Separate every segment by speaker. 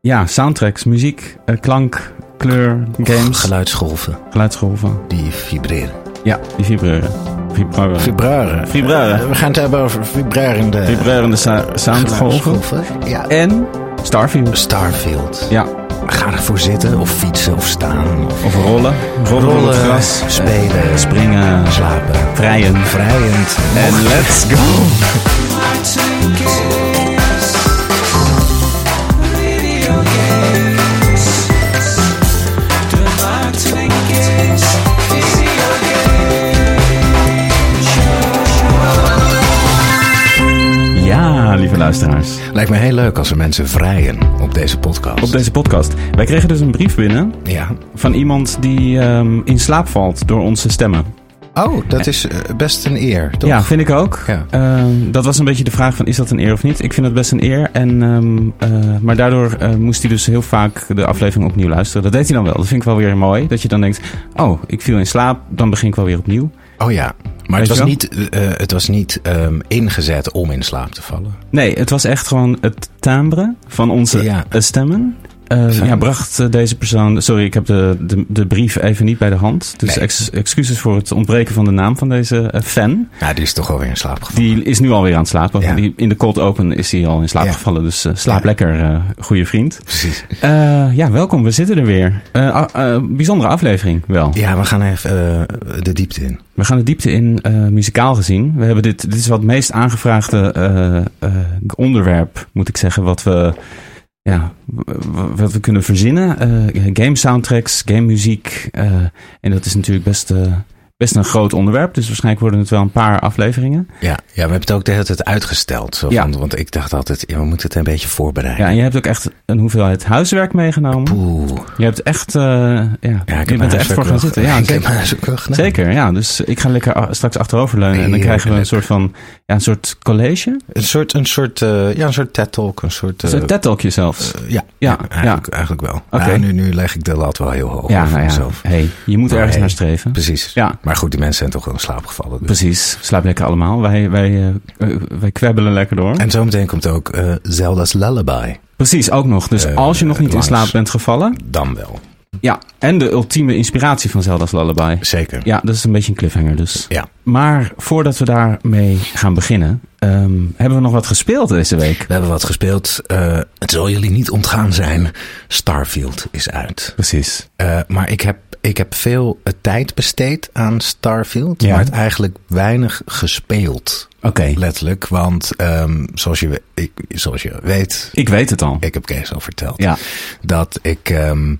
Speaker 1: ja, soundtracks, muziek, eh, klank, kleur, games,
Speaker 2: Geluidsgolven
Speaker 1: geluidsgolven.
Speaker 2: die vibreren.
Speaker 1: Ja, die vibreren. Vibreren.
Speaker 2: Vibraren.
Speaker 1: Vibraren.
Speaker 2: Eh, we gaan het hebben over vibrerende
Speaker 1: Vibrerende sa- soundgolven.
Speaker 2: geluidsgolven. Ja.
Speaker 1: En Starfield.
Speaker 2: Starfield.
Speaker 1: Ja,
Speaker 2: Ga ervoor zitten of fietsen of staan. Of
Speaker 1: of rollen. Rollen, op het gras. eh,
Speaker 2: spelen,
Speaker 1: Springen.
Speaker 2: slapen.
Speaker 1: Vrijen.
Speaker 2: Vrijend.
Speaker 1: En let's go! Ja, lieve luisteraars.
Speaker 2: Lijkt me heel leuk als er mensen vrijen op deze podcast.
Speaker 1: Op deze podcast. Wij kregen dus een brief binnen
Speaker 2: Ja.
Speaker 1: van iemand die ehm, in slaap valt door onze stemmen.
Speaker 2: Oh, dat is eh, best een eer, toch?
Speaker 1: Ja, vind ik ook.
Speaker 2: Ja.
Speaker 1: Ehm, dat was een beetje de vraag van is dat een eer of niet? Ik vind dat best een eer. En, ehm, eh, maar daardoor eh, moest hij dus heel vaak de aflevering opnieuw luisteren. Dat deed hij dan wel. Dat vind ik wel weer mooi. Dat je dan denkt, oh, ik viel in slaap. Dan begin ik wel weer opnieuw.
Speaker 2: Oh ja. Maar
Speaker 1: Weet
Speaker 2: het
Speaker 1: je
Speaker 2: was,
Speaker 1: wel?
Speaker 2: niet, eh, eh, het was niet ehm, ingezet om in slaap te vallen.
Speaker 1: Nee, het was echt gewoon het timbre van onze
Speaker 2: Ja.
Speaker 1: eh, stemmen. Eh,
Speaker 2: Fijn.
Speaker 1: ja, bracht eh, deze persoon... Sorry, ik heb de, de, de brief even niet bij de hand. Dus
Speaker 2: Nee.
Speaker 1: ex- excuses voor het ontbreken van de naam van deze eh, fan.
Speaker 2: Ja, die is toch alweer in slaap gevallen.
Speaker 1: Die is nu alweer aan het slapen.
Speaker 2: Ja.
Speaker 1: Die- In de cold open is hij al in slaap
Speaker 2: Ja.
Speaker 1: gevallen. Dus eh, slaap
Speaker 2: Ja.
Speaker 1: lekker, eh, goede vriend.
Speaker 2: Precies.
Speaker 1: Eh, ja, welkom. We zitten er weer. Eh, a- eh, bijzondere aflevering wel.
Speaker 2: Ja, we gaan even eh, de diepte in.
Speaker 1: We gaan de diepte in eh, muzikaal gezien. We hebben dit, dit is wat het meest aangevraagde eh, eh, onderwerp, moet ik zeggen, wat we, ja, w- w- wat we kunnen verzinnen. Eh, game soundtracks, game muziek. eh, en dat is natuurlijk best, eh, best een groot onderwerp. Dus waarschijnlijk worden het wel een paar afleveringen.
Speaker 2: Ja, ja we hebben het ook de hele tijd uitgesteld. Zo,
Speaker 1: Ja.
Speaker 2: want, want ik dacht altijd, ja, we moeten het een beetje voorbereiden.
Speaker 1: Ja, en je hebt ook echt een hoeveelheid huiswerk meegenomen.
Speaker 2: Poeh.
Speaker 1: Je hebt echt, eh, ja,
Speaker 2: Ja, ik
Speaker 1: je
Speaker 2: heb
Speaker 1: bent
Speaker 2: mijn
Speaker 1: er echt
Speaker 2: huiswerk
Speaker 1: voor
Speaker 2: wel-
Speaker 1: gaan zitten. Ja,
Speaker 2: ik heb
Speaker 1: zeker.
Speaker 2: mijn huiswerk wel gedaan.
Speaker 1: Zeker, ja. Dus ik ga lekker a- straks achteroverleunen en dan krijgen we een soort van, ja, een soort college.
Speaker 2: Een soort, een soort, eh, ja, een soort TED-talk, een soort... eh,
Speaker 1: Een soort TED Talkje zelfs.
Speaker 2: eh, ja,
Speaker 1: Ja, ja.
Speaker 2: eigenlijk, eigenlijk wel.
Speaker 1: Oké.
Speaker 2: Ja, nu, nu leg ik de lat wel heel hoog
Speaker 1: Ja,
Speaker 2: voor
Speaker 1: nou ja.
Speaker 2: mezelf.
Speaker 1: Hey, je moet
Speaker 2: Maar
Speaker 1: ergens
Speaker 2: hey.
Speaker 1: naar streven.
Speaker 2: Precies.
Speaker 1: Ja.
Speaker 2: Maar goed, die mensen zijn toch wel in slaap gevallen. dus.
Speaker 1: Precies. Slaap lekker allemaal. Wij, wij, eh, eh, wij kwebbelen lekker door.
Speaker 2: En zometeen komt ook eh, Zelda's Lullaby.
Speaker 1: Precies, ook nog. Dus
Speaker 2: Eh,
Speaker 1: als je nog niet
Speaker 2: langs.
Speaker 1: in slaap bent gevallen.
Speaker 2: Dan wel.
Speaker 1: Ja, en de ultieme inspiratie van Zelda's Lullaby.
Speaker 2: Zeker.
Speaker 1: Ja, dat is een beetje een cliffhanger dus.
Speaker 2: Ja.
Speaker 1: Maar voordat we daarmee gaan beginnen, ehm, hebben we nog wat gespeeld deze week.
Speaker 2: We hebben wat gespeeld. Eh, het zal jullie niet ontgaan zijn. Starfield is uit.
Speaker 1: Precies.
Speaker 2: Eh, maar ik heb, ik heb veel eh, tijd besteed aan Starfield.
Speaker 1: Ja.
Speaker 2: Maar het eigenlijk weinig gespeeld.
Speaker 1: Oké.
Speaker 2: Letterlijk. Want ehm, zoals, je, we- ik, zoals je weet.
Speaker 1: Ik weet het al.
Speaker 2: Ik heb Kees al verteld.
Speaker 1: Ja.
Speaker 2: Dat ik. ehm,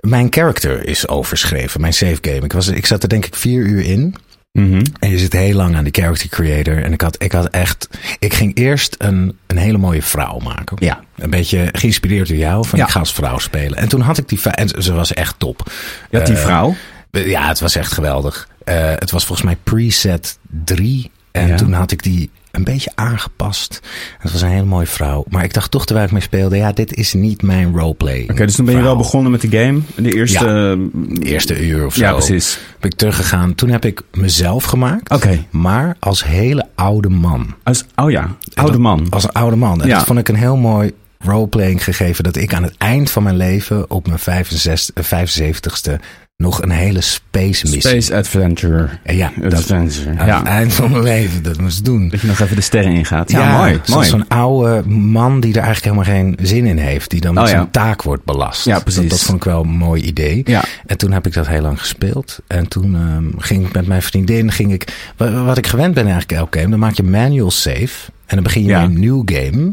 Speaker 2: mijn character is overschreven. Mijn save game. Ik, was, ik zat er denk ik vier uur in.
Speaker 1: Mhm.
Speaker 2: En je zit heel lang aan die character creator. En ik had, ik had echt. Ik ging eerst een, een hele mooie vrouw maken.
Speaker 1: Ja.
Speaker 2: Een beetje geïnspireerd door jou. Van
Speaker 1: Ja.
Speaker 2: ik ga als vrouw spelen. En toen had ik die. va- En ze- ze was echt top.
Speaker 1: Je had die
Speaker 2: Eh,
Speaker 1: vrouw.
Speaker 2: Ja, het was echt geweldig. Eh, het was volgens mij preset 3. En
Speaker 1: Ja.
Speaker 2: toen had ik die een beetje aangepast. Het was een hele mooie vrouw. Maar ik dacht toch terwijl ik mee speelde. Ja, dit is niet mijn roleplay.
Speaker 1: Oké, dus toen ben je wel begonnen met de game. De eerste... ehm,
Speaker 2: Eerste uur of zo.
Speaker 1: ja, precies.
Speaker 2: Ben ik teruggegaan. Toen heb ik mezelf gemaakt.
Speaker 1: Oké.
Speaker 2: Maar als hele oude man.
Speaker 1: Als- Oh ja, oude man.
Speaker 2: Als een oude man. En
Speaker 1: Ja.
Speaker 2: dat vond ik een heel mooi roleplaying gegeven. Dat ik aan het eind van mijn leven op mijn 65, eh, 75ste nog een hele space missie.
Speaker 1: Space Adventure.
Speaker 2: En ja, dat,
Speaker 1: Adventure.
Speaker 2: aan het
Speaker 1: Ja.
Speaker 2: eind van mijn leven dat moest doen.
Speaker 1: Dat je nog even de sterren ingaat. Ja, mooi.
Speaker 2: zoals
Speaker 1: mooi.
Speaker 2: Zo'n oude man die er eigenlijk helemaal geen zin in heeft. Die dan met
Speaker 1: Oh ja.
Speaker 2: zijn taak wordt belast.
Speaker 1: Ja, precies.
Speaker 2: Dat, dat vond ik wel een mooi idee.
Speaker 1: Ja.
Speaker 2: En toen heb ik dat heel lang gespeeld. En toen ehm, ging ik met mijn vriendin, ging ik, wa- wat ik gewend ben eigenlijk elke game, dan maak je manual save. En dan begin je
Speaker 1: Ja.
Speaker 2: weer een nieuw game.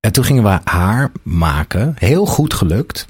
Speaker 2: En toen gingen we haar maken. Heel goed gelukt.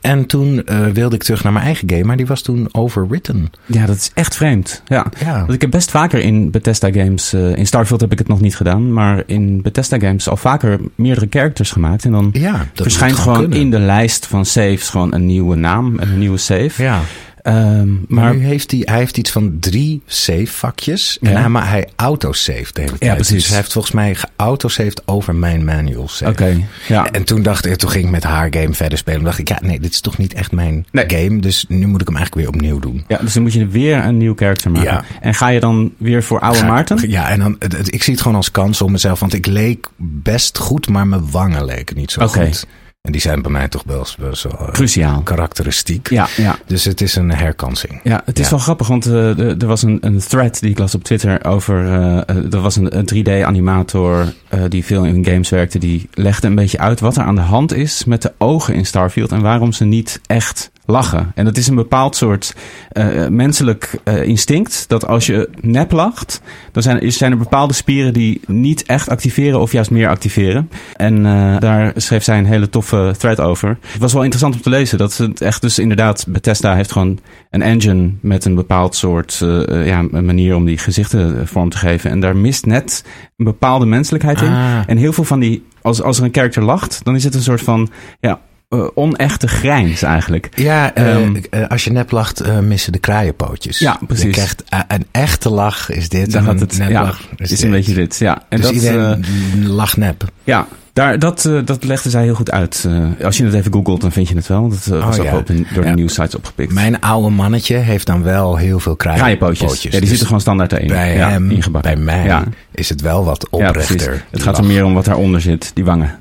Speaker 2: En toen eh, wilde ik terug naar mijn eigen game, maar die was toen overwritten.
Speaker 1: ja, dat is echt vreemd. Ja.
Speaker 2: Ja.
Speaker 1: Want ik heb best vaker in Bethesda games... eh, in Starfield heb ik het nog niet gedaan. Maar in Bethesda games al vaker meerdere characters gemaakt. En dan
Speaker 2: Ja, dat
Speaker 1: verschijnt
Speaker 2: moet
Speaker 1: gewoon
Speaker 2: kunnen.
Speaker 1: in de lijst van saves gewoon een nieuwe naam en een nieuwe save.
Speaker 2: Ja.
Speaker 1: Ehm, maar
Speaker 2: nu heeft hij, hij heeft iets van drie save-vakjes. En
Speaker 1: Ja.
Speaker 2: hij, maar hij autosaved de hele tijd.
Speaker 1: precies.
Speaker 2: Dus hij heeft volgens mij geautosaved over mijn manual save.
Speaker 1: oké, ja.
Speaker 2: En toen dacht ik, toen ging ik met haar game verder spelen. Toen dacht ik, ja, nee, dit is toch niet echt mijn
Speaker 1: Nee.
Speaker 2: game. Dus nu moet ik hem eigenlijk weer opnieuw doen.
Speaker 1: ja, dus dan moet je weer een nieuw karakter maken.
Speaker 2: Ja.
Speaker 1: En ga je dan weer voor oude
Speaker 2: Ga-
Speaker 1: Maarten?
Speaker 2: Ja, en dan, het- het- ik zie het gewoon als kans om mezelf. Want ik leek best goed, maar mijn wangen leken niet zo
Speaker 1: Oké.
Speaker 2: goed. En die zijn bij mij toch wel wel zo eh,
Speaker 1: Cruciaal.
Speaker 2: karakteristiek.
Speaker 1: Ja, ja.
Speaker 2: Dus het is een herkansing.
Speaker 1: Ja, het is
Speaker 2: Ja.
Speaker 1: wel grappig, want eh, de- er was een, een thread die ik las op Twitter over. eh, eh, er was een, een 3D-animator eh, die veel in games werkte. Die legde een beetje uit wat er aan de hand is met de ogen in Starfield en waarom ze niet echt lachen. En dat is een bepaald soort eh, eh, menselijk eh, instinct. Dat als je nep lacht, dan zijn, is- zijn er bepaalde spieren die niet echt activeren of juist meer activeren. En eh, daar schreef zij een hele toffe thread over. Het was wel interessant om te lezen. Dat het echt dus inderdaad, Bethesda heeft gewoon een engine met een bepaald soort eh, eh, ja, een manier om die gezichten eh, vorm te geven. En daar mist net een bepaalde menselijkheid in.
Speaker 2: Ah.
Speaker 1: En heel veel van die, als, als er een character lacht, dan is het een soort van ja, eh, onechte grijns eigenlijk.
Speaker 2: Ja, eh,
Speaker 1: Ehm.
Speaker 2: eh, als je nep lacht, eh, missen de kraaienpootjes.
Speaker 1: Ja, precies.
Speaker 2: Je krijgt, eh, een echte lach is dit.
Speaker 1: Daar
Speaker 2: en
Speaker 1: gaat
Speaker 2: een
Speaker 1: het,
Speaker 2: nep
Speaker 1: ja,
Speaker 2: lach
Speaker 1: is,
Speaker 2: is,
Speaker 1: een
Speaker 2: dit.
Speaker 1: beetje dit. Ja. En
Speaker 2: Dus
Speaker 1: dat, eh,
Speaker 2: iedereen lacht nep.
Speaker 1: Ja, daar, dat, eh, dat legde zij heel goed uit. Eh, als je het even googelt, dan vind je het wel. Dat eh, was
Speaker 2: Oh,
Speaker 1: ook
Speaker 2: ja.
Speaker 1: op in- door
Speaker 2: Ja.
Speaker 1: de nieuwsites opgepikt.
Speaker 2: Mijn oude mannetje heeft dan wel heel veel kraaienpootjes.
Speaker 1: Kraaienpootjes. Ja, die
Speaker 2: Dus
Speaker 1: zitten gewoon standaard erin.
Speaker 2: bij
Speaker 1: ja,
Speaker 2: hem,
Speaker 1: ingebouwd.
Speaker 2: bij mij,
Speaker 1: Ja.
Speaker 2: is het wel wat
Speaker 1: Ja, precies.
Speaker 2: oprechter.
Speaker 1: Het gaat er meer om wat daaronder zit, die wangen.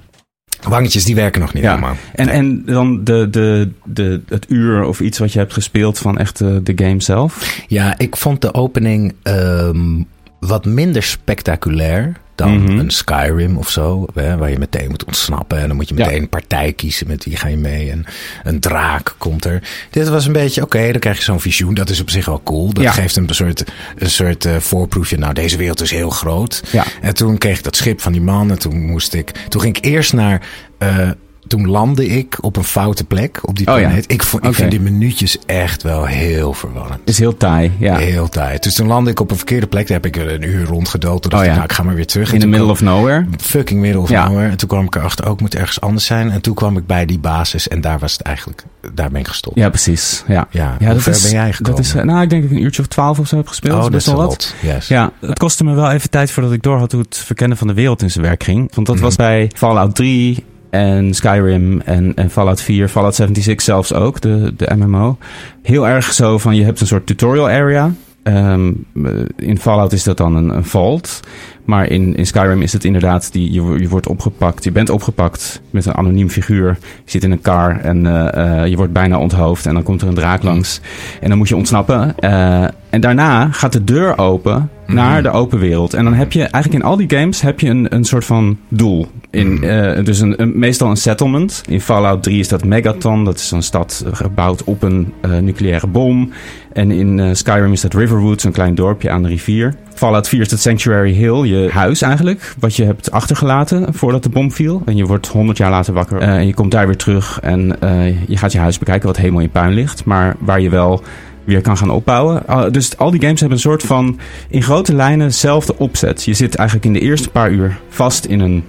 Speaker 2: Wangetjes, die werken nog niet
Speaker 1: Ja.
Speaker 2: helemaal.
Speaker 1: En, en dan de, de, de, het uur of iets wat je hebt gespeeld van echt eh, de game zelf.
Speaker 2: Ja, ik vond de opening ehm, wat minder spectaculair dan
Speaker 1: Mhm.
Speaker 2: een Skyrim of zo. Hè, waar je meteen moet ontsnappen en dan moet je
Speaker 1: Ja.
Speaker 2: meteen een partij kiezen met wie ga je mee. En een draak komt er. Dit was een beetje, oké, dan krijg je zo'n visioen. Dat is op zich wel cool. Dat
Speaker 1: Ja.
Speaker 2: geeft een soort, een soort eh, voorproefje. Nou, deze wereld is heel groot.
Speaker 1: Ja.
Speaker 2: En toen kreeg ik dat schip van die man. En toen moest ik. Toen ging ik eerst naar. eh, toen landde ik op een foute plek op die
Speaker 1: Oh ja.
Speaker 2: planeet. Ik, vo- ik
Speaker 1: Oké.
Speaker 2: vind die minuutjes echt wel heel verwarrend.
Speaker 1: Is heel taai. Ja.
Speaker 2: Heel tijd. Dus toen landde ik op een verkeerde plek. Daar heb ik een uur rondgedood. Toen dacht
Speaker 1: Oh ja.
Speaker 2: ik, nou, ik ga maar weer terug. En
Speaker 1: In the
Speaker 2: toen
Speaker 1: middle
Speaker 2: kwam-
Speaker 1: of nowhere.
Speaker 2: Fucking middle of
Speaker 1: Ja.
Speaker 2: nowhere. En toen kwam ik erachter, ook moet ergens anders zijn. En toen kwam ik bij die basis en daar was het eigenlijk, daar ben ik gestopt.
Speaker 1: Ja, precies. Ja.
Speaker 2: Ja,
Speaker 1: Ja,
Speaker 2: hoe ver ben jij gekomen?
Speaker 1: dat is, eh, nou, ik denk dat ik een uurtje of twaalf of zo heb gespeeld.
Speaker 2: oh,
Speaker 1: is
Speaker 2: dat
Speaker 1: best
Speaker 2: is
Speaker 1: wel
Speaker 2: een
Speaker 1: wat.
Speaker 2: lot. Yes.
Speaker 1: Ja, het kostte me wel even tijd voordat ik doorhad hoe het verkennen van de wereld in zijn werk ging. Want dat
Speaker 2: Mhm.
Speaker 1: was bij Fallout 3 en Skyrim en, en Fallout 4, Fallout 76 zelfs ook, de, de MMO. Heel erg zo van, je hebt een soort tutorial area. Ehm, eh, in Fallout is dat dan een, een vault. Maar in, in Skyrim is het inderdaad, die, je, wo- je wordt opgepakt. Je bent opgepakt met een anoniem figuur. Je zit in een kar en eh, eh, je wordt bijna onthoofd. En dan komt er een draak langs. En dan moet je ontsnappen. Eh, en daarna gaat de deur open naar de open wereld. En dan heb je eigenlijk in al die games heb je een, een soort van doel. In, eh, dus een, een- meestal een settlement. In Fallout 3 is dat Megaton. Dat is een stad gebouwd op een eh, nucleaire bom. En in eh, Skyrim is dat Riverwood, zo'n klein dorpje aan de rivier. Fallout 4 is dat Sanctuary Hill, je huis eigenlijk. Wat je hebt achtergelaten voordat de bom viel. En je wordt 100 jaar later wakker. eh, en je komt daar weer terug. En eh, je gaat je huis bekijken, wat helemaal in puin ligt. Maar waar je wel weer kan gaan opbouwen. Ah, dus al die games hebben een soort van in grote lijnen hetzelfde opzet. Je zit eigenlijk in de eerste paar uur vast in een,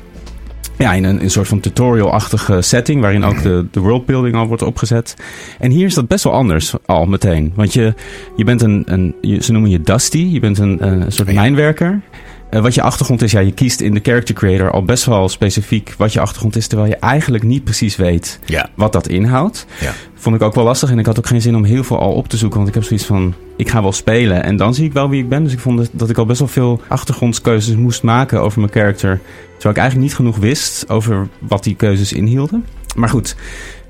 Speaker 1: ja, in een, een soort van tutorial-achtige setting, waarin ook de, de worldbuilding al wordt opgezet. En hier is dat best wel anders al meteen. Want je, je bent een, een je- ze noemen je Dusty, je bent een, een soort
Speaker 2: Ja.
Speaker 1: mijnwerker. Eh, wat je achtergrond is, ja, je kiest in de character creator al best wel specifiek wat je achtergrond is, terwijl je eigenlijk niet precies weet
Speaker 2: Ja.
Speaker 1: wat dat inhoudt.
Speaker 2: Ja.
Speaker 1: Vond ik ook wel lastig en ik had ook geen zin om heel veel al op te zoeken. Want ik heb zoiets van, ik ga wel spelen en dan zie ik wel wie ik ben. Dus ik vond dat- dat ik al best wel veel achtergrondskeuzes moest maken over mijn character. Terwijl ik eigenlijk niet genoeg wist over wat die keuzes inhielden. Maar goed,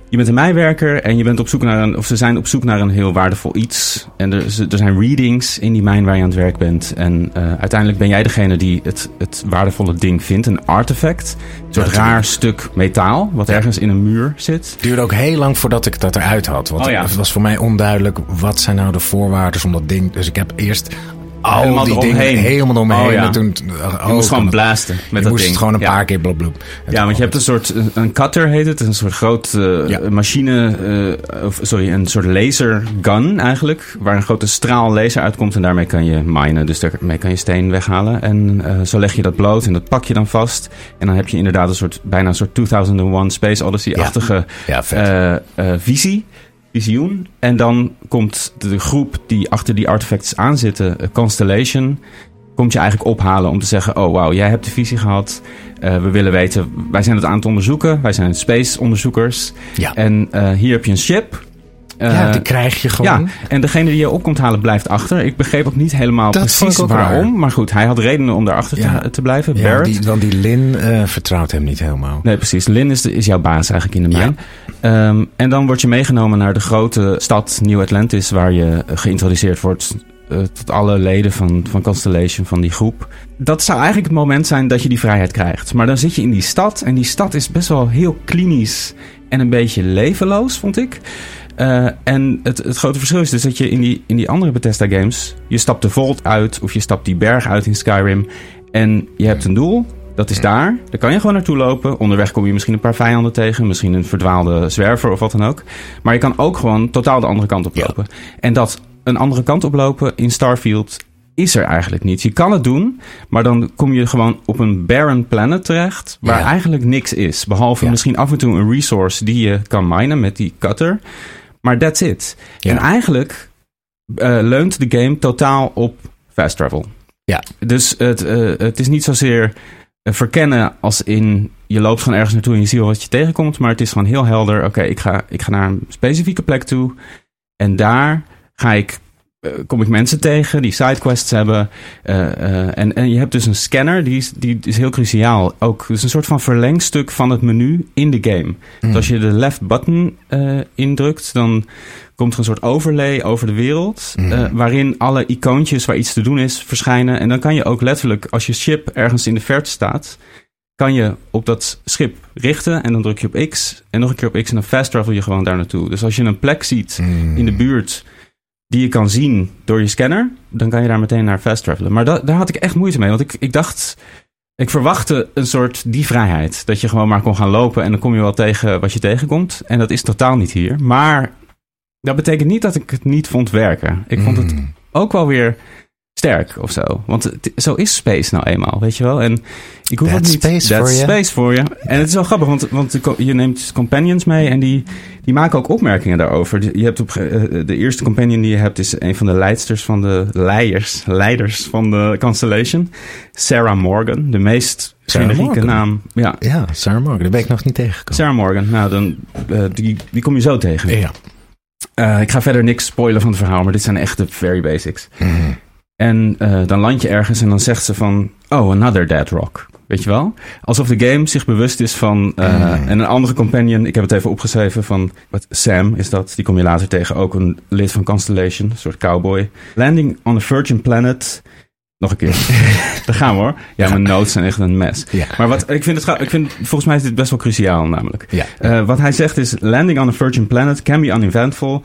Speaker 1: je bent een mijnwerker en je bent op zoek naar een, of ze zijn op zoek naar een heel waardevol iets. En er, z- er zijn readings in die mijn waar je aan het werk bent. En eh, uiteindelijk ben jij degene die het, het waardevolle ding vindt, een artefact. Een soort
Speaker 2: Natuurlijk.
Speaker 1: raar stuk metaal, wat ergens in een muur zit.
Speaker 2: Het duurde ook heel lang voordat ik dat eruit had. Want
Speaker 1: Oh ja.
Speaker 2: het was voor mij onduidelijk, wat zijn nou de voorwaarden om dat ding. Dus ik heb eerst al
Speaker 1: Helemaal
Speaker 2: die dingen
Speaker 1: eromheen.
Speaker 2: helemaal omheen.
Speaker 1: Oh ja.
Speaker 2: En toen,
Speaker 1: Je moest gewoon blasten met
Speaker 2: je
Speaker 1: dat
Speaker 2: moest
Speaker 1: ding.
Speaker 2: Oh, het gewoon een
Speaker 1: Ja.
Speaker 2: paar keer blablabla.
Speaker 1: Ja, want je hebt een soort, een- een cutter heet het, een soort groot eh,
Speaker 2: Ja.
Speaker 1: machine, eh, of sorry, een soort laser gun eigenlijk, waar een grote straal laser uitkomt en daarmee kan je minen, dus daarmee kan je steen weghalen. En eh, zo leg je dat bloot en dat pak je dan vast en dan heb je inderdaad een soort, bijna een soort 2001 Space
Speaker 2: Ja.
Speaker 1: Odyssey-achtige
Speaker 2: Ja, vet.
Speaker 1: eh, eh, visie. visioen. En dan komt de groep die achter die artefacts aan zitten, eh, Constellation, komt je eigenlijk ophalen om te zeggen: Oh wauw, jij hebt de visie gehad. Eh, we willen weten, wij zijn het aan het onderzoeken. Wij zijn space onderzoekers.
Speaker 2: Ja.
Speaker 1: En eh, hier heb je een ship. Eh,
Speaker 2: ja, die krijg je gewoon.
Speaker 1: ja, en degene die je op komt halen blijft achter. Ik begreep ook niet helemaal
Speaker 2: Dat vond
Speaker 1: precies
Speaker 2: ik ook
Speaker 1: waarom.
Speaker 2: raar.
Speaker 1: Maar goed, hij had redenen om daarachter
Speaker 2: Ja.
Speaker 1: te, te blijven.
Speaker 2: Ja,
Speaker 1: Barrett.
Speaker 2: die, want die Lin eh, vertrouwt hem niet helemaal.
Speaker 1: Nee, precies. Lin is, de- is jouw baas eigenlijk in de
Speaker 2: Nou. Ja.
Speaker 1: mijn. Ehm, en dan word je meegenomen naar de grote stad New Atlantis, waar je eh, geïntroduceerd wordt eh, tot alle leden van, van Constellation, van die groep. Dat zou eigenlijk het moment zijn dat je die vrijheid krijgt. Maar dan zit je in die stad en die stad is best wel heel klinisch en een beetje levenloos, vond ik. Eh, en het, het grote verschil is dus dat je in die, in die andere Bethesda games, je stapt de Vault uit of je stapt die berg uit in Skyrim en je hebt een doel. Dat is daar. Daar kan je gewoon naartoe lopen. Onderweg kom je misschien een paar vijanden tegen. Misschien een verdwaalde zwerver of wat dan ook. Maar je kan ook gewoon totaal de andere kant op
Speaker 2: Ja.
Speaker 1: lopen. En dat een andere kant op lopen in Starfield is er eigenlijk niet. Je kan het doen, maar dan kom je gewoon op een barren planet terecht... waar
Speaker 2: Ja.
Speaker 1: eigenlijk niks is. Behalve
Speaker 2: Ja.
Speaker 1: misschien af en toe een resource die je kan minen met die cutter. Maar that's it.
Speaker 2: Ja.
Speaker 1: En eigenlijk eh, leunt de game totaal op fast travel.
Speaker 2: Ja.
Speaker 1: Dus het, eh, het is niet zozeer eh, verkennen als in je loopt gewoon ergens naartoe en je ziet wel wat je tegenkomt. Maar het is gewoon heel helder. Oké, ik, ga, ik ga naar een specifieke plek toe. En daar ga ik, eh, kom ik mensen tegen die sidequests hebben. Eh, eh, en, en je hebt dus een scanner, die is, die is heel cruciaal. Ook, dus een soort van verlengstuk van het menu in de game. Dus
Speaker 2: Mm.
Speaker 1: als je de left button eh, indrukt, dan komt er een soort overlay over de wereld.
Speaker 2: Mhm.
Speaker 1: eh, waarin alle icoontjes waar iets te doen is verschijnen. En dan kan je ook letterlijk, als je ship ergens in de verte staat. kan je op dat schip richten en dan druk je op X. En nog een keer op X en dan fast travel je gewoon daar naartoe. Dus als je een plek ziet
Speaker 2: Mm.
Speaker 1: in de buurt die je kan zien door je scanner, dan kan je daar meteen naar fast travelen. Maar da- daar had ik echt moeite mee, want ik, ik dacht, ik verwachtte een soort die vrijheid. Dat je gewoon maar kon gaan lopen en dan kom je wel tegen wat je tegenkomt. En dat is totaal niet hier. Maar dat betekent niet dat ik het niet vond werken. Ik vond het
Speaker 2: Mm.
Speaker 1: ook wel weer sterk of zo. Want het- zo is space nou eenmaal, weet je wel. En ik hoef
Speaker 2: That's
Speaker 1: het niet...
Speaker 2: space
Speaker 1: that's
Speaker 2: for you.
Speaker 1: space voor je. En het is wel grappig, want, want de co- je neemt dus companions mee... en die, die maken ook opmerkingen daarover. Die- Je hebt op, ge- eh, de eerste companion die je hebt... is een van de leidsters van de leiders, leiders van de Constellation. Sarah Morgan, de meest
Speaker 2: Sarah
Speaker 1: generieke
Speaker 2: Morgan.
Speaker 1: naam. Ja,
Speaker 2: Ja, Sarah Morgan. Daar ben ik nog niet tegengekomen.
Speaker 1: Sarah Morgan. Nou, dan, eh, die, die kom je zo tegen.
Speaker 2: Ja.
Speaker 1: Eh, ik ga verder niks spoilen van het verhaal... maar dit zijn echt de very basics.
Speaker 2: Mm.
Speaker 1: En eh, dan land je ergens en dan zegt ze van... Oh, another dead rock. Weet je wel? Alsof de game zich bewust is van... eh,
Speaker 2: Mm.
Speaker 1: En een andere companion, ik heb het even opgeschreven van... Wat, Sam is dat, die kom je later tegen. Ook een lid van Constellation, een soort cowboy. Landing on a virgin planet... Nog een keer. Daar gaan we hoor. Ja, mijn notes zijn echt een mes.
Speaker 2: Ja.
Speaker 1: Maar wat, ik vind het, ga- ik vind, volgens mij is dit best wel cruciaal namelijk.
Speaker 2: Ja.
Speaker 1: Eh, wat hij zegt is: landing on a virgin planet can be uneventful,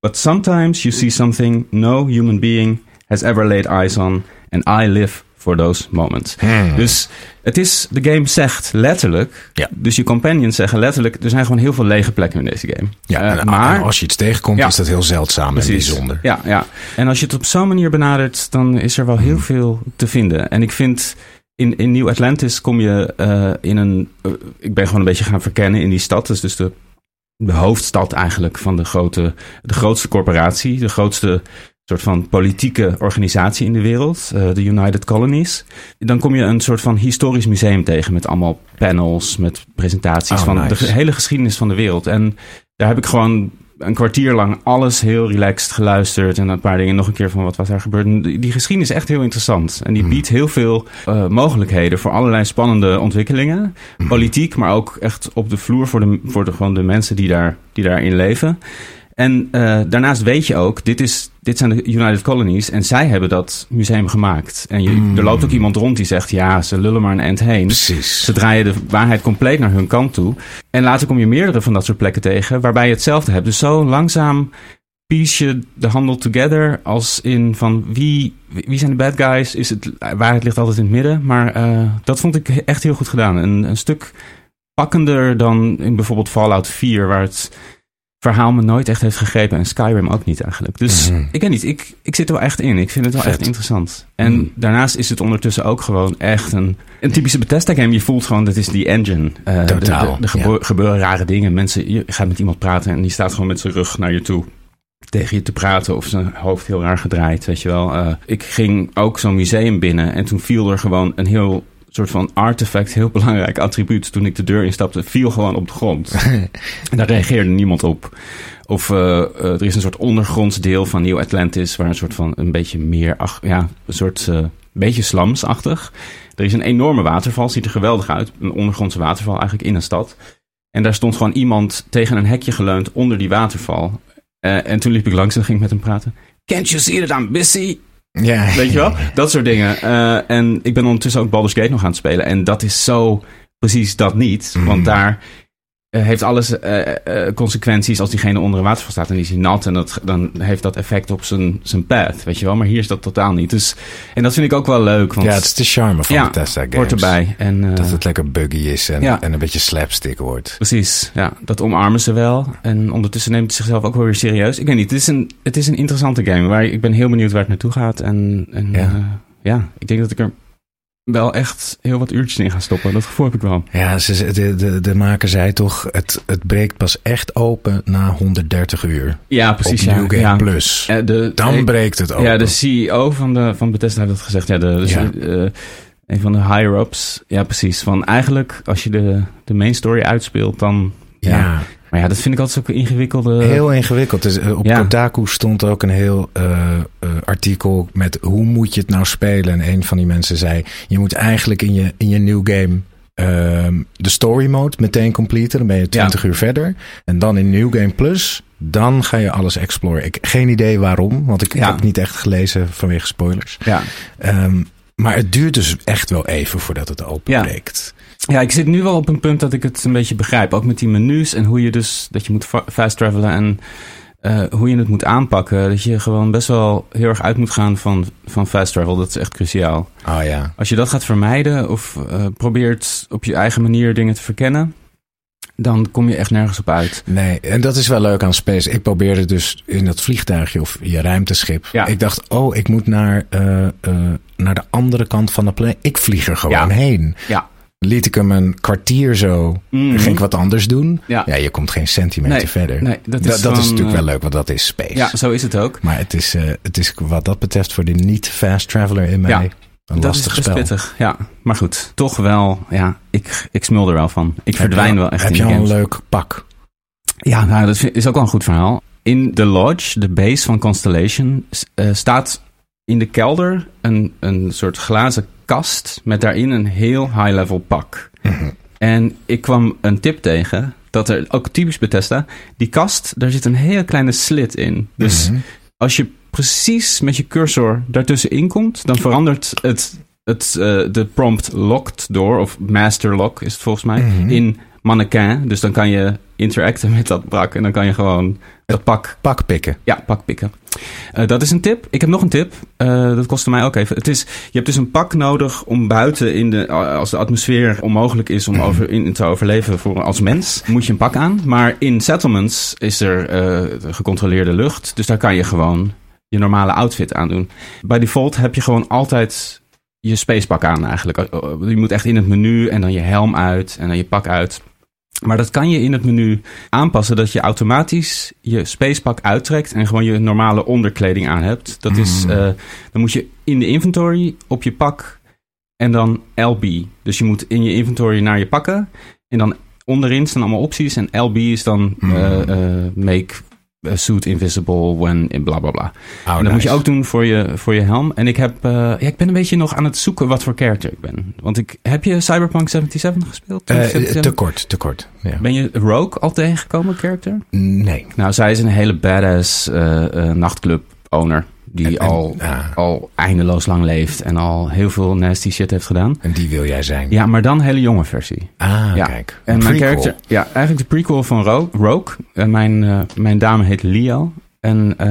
Speaker 1: but sometimes you see something no human being has ever laid eyes on, and I live for those moments.
Speaker 2: Mm.
Speaker 1: Dus het is, de game zegt letterlijk,
Speaker 2: Ja.
Speaker 1: dus je companions zeggen letterlijk, er zijn gewoon heel veel lege plekken in deze game.
Speaker 2: ja,
Speaker 1: eh,
Speaker 2: en,
Speaker 1: maar-
Speaker 2: en als je iets tegenkomt,
Speaker 1: Ja.
Speaker 2: is dat heel zeldzaam en bijzonder.
Speaker 1: Ja, ja. En als je het op zo'n manier benadert, dan is er wel heel
Speaker 2: Hmm.
Speaker 1: veel te vinden. En ik vind. In, in New Atlantis kom je eh, in een. eh, ik ben gewoon een beetje gaan verkennen in die stad. Dat is dus de, de hoofdstad eigenlijk van de, grote, de grootste corporatie. De grootste soort van politieke organisatie in de wereld. eh, de United Colonies. Dan kom je een soort van historisch museum tegen. Met allemaal panels, met presentaties
Speaker 2: Oh,
Speaker 1: van de
Speaker 2: nice.
Speaker 1: ge- hele geschiedenis van de wereld. En daar heb ik gewoon een kwartier lang alles heel relaxed geluisterd. En een paar dingen nog een keer van wat was daar gebeurd. En Die die geschiedenis is echt heel interessant. En die
Speaker 2: Hmm.
Speaker 1: biedt heel veel eh, mogelijkheden voor allerlei spannende ontwikkelingen. Politiek, maar ook echt op de vloer voor de, voor de, gewoon de mensen die, daar, die daarin leven. En eh, daarnaast weet je ook, dit, is, dit zijn de United Colonies en zij hebben dat museum gemaakt. En je, er loopt ook iemand rond die zegt, ja, ze lullen maar een eind heen. Dus
Speaker 2: Precies.
Speaker 1: Ze draaien de waarheid compleet naar hun kant toe. En later kom je meerdere van dat soort plekken tegen waarbij je hetzelfde hebt. Dus zo langzaam piece je de handel together als in van wie, wie zijn de bad guys? Is het, waarheid ligt altijd in het midden. Maar eh, dat vond ik he- echt heel goed gedaan. Een, een stuk pakkender dan in bijvoorbeeld Fallout 4 waar het verhaal me nooit echt heeft gegrepen. En Skyrim ook niet eigenlijk. Dus
Speaker 2: Mhm.
Speaker 1: ik weet niet, ik, ik zit er wel echt in. Ik vind het wel
Speaker 2: Vet.
Speaker 1: echt interessant. En
Speaker 2: Mhm.
Speaker 1: daarnaast is het ondertussen ook gewoon echt een, een typische Bethesda game. Je voelt gewoon, dat is die engine. Eh,
Speaker 2: Totaal,
Speaker 1: de- de- Er
Speaker 2: ja.
Speaker 1: gebeur- gebeuren rare dingen. Mensen, je gaat met iemand praten en die staat gewoon met zijn rug naar je toe. Tegen je te praten of zijn hoofd heel raar gedraaid, weet je wel. Eh, ik ging ook zo'n museum binnen en toen viel er gewoon een heel soort van artefact, heel belangrijk attribuut. Toen ik de deur instapte, viel gewoon op de grond. En daar reageerde niemand op. Of eh, eh, er is een soort ondergronds deel van Nieuw Atlantis, waar een soort van een beetje meer, ach, ja, een soort eh, beetje slamsachtig. Er is een enorme waterval, ziet er geweldig uit. Een ondergrondse waterval eigenlijk in een stad. En daar stond gewoon iemand tegen een hekje geleund onder die waterval. Eh, en toen liep ik langs en ging ik met hem praten. Can't you see that I'm busy?
Speaker 2: Ja.
Speaker 1: Weet je wel? Dat soort dingen. Eh, en ik ben ondertussen ook Baldur's Gate nog aan het spelen. En dat is zo precies dat niet.
Speaker 2: Mm.
Speaker 1: Want daar eh, heeft alles eh, eh, consequenties als diegene onder een waterval staat en die is hij nat. En dat, dan heeft dat effect op zijn, zijn path. Weet je wel? Maar hier is dat totaal niet. Dus, en dat vind ik ook wel leuk. Want
Speaker 2: Ja, het is de charme van
Speaker 1: Ja,
Speaker 2: Bethesda Games.
Speaker 1: hoort erbij. En, eh,
Speaker 2: Dat het lekker buggy is en,
Speaker 1: Ja.
Speaker 2: en een beetje slapstick wordt.
Speaker 1: Precies, ja, dat omarmen ze wel. En ondertussen neemt het zichzelf ook wel weer serieus. Ik weet niet, het is een, het is een interessante game. Waar, ik ben heel benieuwd waar het naartoe gaat. En, en
Speaker 2: Ja.
Speaker 1: ja. ja, ik denk dat ik er wel echt heel wat uurtjes in ga stoppen. Dat gevoel heb ik wel.
Speaker 2: Ja, ze, ze- de, de, de maker zei toch, het, het breekt pas echt open na 130 uur.
Speaker 1: Ja,
Speaker 2: op New Game Plus.
Speaker 1: Eh, de,
Speaker 2: Dan
Speaker 1: eh,
Speaker 2: breekt het open.
Speaker 1: ja, de CEO van, de, van Bethesda heeft dat gezegd. Ja, de, dus,
Speaker 2: Ja.
Speaker 1: eh, een van de higher-ups. Ja, precies. Van eigenlijk, als je de, de main story uitspeelt, dan...
Speaker 2: ja.
Speaker 1: Maar ja, dat vind ik altijd zo'n ingewikkelde...
Speaker 2: heel ingewikkeld. Dus, eh, op
Speaker 1: Ja.
Speaker 2: Kotaku stond ook een heel eh, eh, artikel met hoe moet je het nou spelen. En een van die mensen zei, je moet eigenlijk in je, in je new game ehm, de story mode meteen completen. Dan ben je 20 uur verder. En dan in New Game Plus, dan ga je alles exploren. Ik, geen idee waarom, want ik,
Speaker 1: Ja.
Speaker 2: heb niet echt gelezen vanwege spoilers.
Speaker 1: Ja.
Speaker 2: Ehm, maar het duurt dus echt wel even voordat het openbreekt.
Speaker 1: Ja, ik zit nu wel op een punt dat ik het een beetje begrijp. Ook met die menus en hoe je dus dat je moet fa- fast travelen en eh, hoe je het moet aanpakken. Dat je gewoon best wel heel erg uit moet gaan van, van fast travel. Dat is echt cruciaal.
Speaker 2: Oh ja.
Speaker 1: Als je dat gaat vermijden of eh, probeert op je eigen manier dingen te verkennen, dan kom je echt nergens op uit.
Speaker 2: Nee, en dat is wel leuk aan Space. Ik probeerde dus in dat vliegtuigje of je ruimteschip.
Speaker 1: Ja.
Speaker 2: Ik dacht, oh, ik moet naar, eh, eh, naar de andere kant van de planeet. Ik vlieg er gewoon
Speaker 1: Ja.
Speaker 2: heen.
Speaker 1: Ja.
Speaker 2: Liet ik hem een kwartier zo.
Speaker 1: Mhm.
Speaker 2: Ging ik wat anders doen.
Speaker 1: Ja.
Speaker 2: je komt geen centimeter
Speaker 1: Nee,
Speaker 2: verder.
Speaker 1: Nee, dat
Speaker 2: dat
Speaker 1: is,
Speaker 2: is, dat
Speaker 1: gewoon,
Speaker 2: is natuurlijk
Speaker 1: eh,
Speaker 2: wel leuk, want dat is Space.
Speaker 1: Ja, zo is het ook.
Speaker 2: Maar het is, eh, het is wat dat betreft voor de niet-fast traveler in mij
Speaker 1: Ja.
Speaker 2: een
Speaker 1: dat
Speaker 2: lastig
Speaker 1: is best
Speaker 2: spel.
Speaker 1: pittig, ja. Maar goed, toch wel, ja, ik, ik smul er wel van. Ik
Speaker 2: Heb je
Speaker 1: verdwijn
Speaker 2: al-
Speaker 1: wel echt
Speaker 2: Heb
Speaker 1: in
Speaker 2: je
Speaker 1: de
Speaker 2: al een
Speaker 1: games.
Speaker 2: leuk pak?
Speaker 1: Ja, nou, dat vind- is ook wel een goed verhaal. In The Lodge, de base van Constellation, s- eh, staat in de kelder een, een soort glazen kast met daarin een heel high-level pak. En ik kwam een tip tegen, dat er, ook typisch Bethesda, die kast, daar zit een heel kleine slit in. Dus
Speaker 2: Mhm.
Speaker 1: als je precies met je cursor daartussenin komt, dan verandert het, het eh, de prompt locked door, of master lock is het volgens mij,
Speaker 2: Mhm.
Speaker 1: in mannequin. Dus dan kan je interacten met dat brak en dan kan je gewoon dat pak,
Speaker 2: pak pikken.
Speaker 1: ja, pak pikken. Eh, dat is een tip. Ik heb nog een tip. Eh, dat kostte mij ook even. Het is, je hebt dus een pak nodig om buiten, in de, als de atmosfeer onmogelijk is om over, in, te overleven voor, als mens, moet je een pak aan. Maar in settlements is er eh, gecontroleerde lucht. Dus daar kan je gewoon je normale outfit aandoen. Bij default heb je gewoon altijd je spacepak aan eigenlijk. Eh, eh, Je moet echt in het menu en dan je helm uit en dan je pak uit. Maar dat kan je in het menu aanpassen dat je automatisch je spacepak uittrekt en gewoon je normale onderkleding aan hebt. Dat is,
Speaker 2: Mm.
Speaker 1: eh, dan moet je in de inventory op je pak en dan LB. Dus je moet in je inventory naar je pakken en dan onderin staan allemaal opties en LB is dan eh,
Speaker 2: Mm.
Speaker 1: eh, make a suit invisible when in bla bla bla.
Speaker 2: Oh,
Speaker 1: En dat moet je
Speaker 2: nice.
Speaker 1: ook doen voor je, voor je helm. En ik, heb, eh, ja, ik ben een beetje nog aan het zoeken wat voor character ik ben. Want ik, heb je Cyberpunk 77 gespeeld?
Speaker 2: Eh,
Speaker 1: 77?
Speaker 2: te kort, te kort. Ja.
Speaker 1: ben je Rogue al tegengekomen, character?
Speaker 2: Nee.
Speaker 1: Nou, zij is een hele badass eh, eh, nachtclub-owner. Die
Speaker 2: En- ah. en-
Speaker 1: al,
Speaker 2: ja,
Speaker 1: al eindeloos lang leeft en al heel veel nasty shit heeft gedaan.
Speaker 2: en die wil jij zijn.
Speaker 1: Ja, maar dan een hele jonge versie.
Speaker 2: Ah,
Speaker 1: Ja.
Speaker 2: kijk.
Speaker 1: En mijn
Speaker 2: Prequel.
Speaker 1: character, ja, eigenlijk de prequel van Ro- Rogue. En mijn, eh, mijn dame heet Leo. En eh,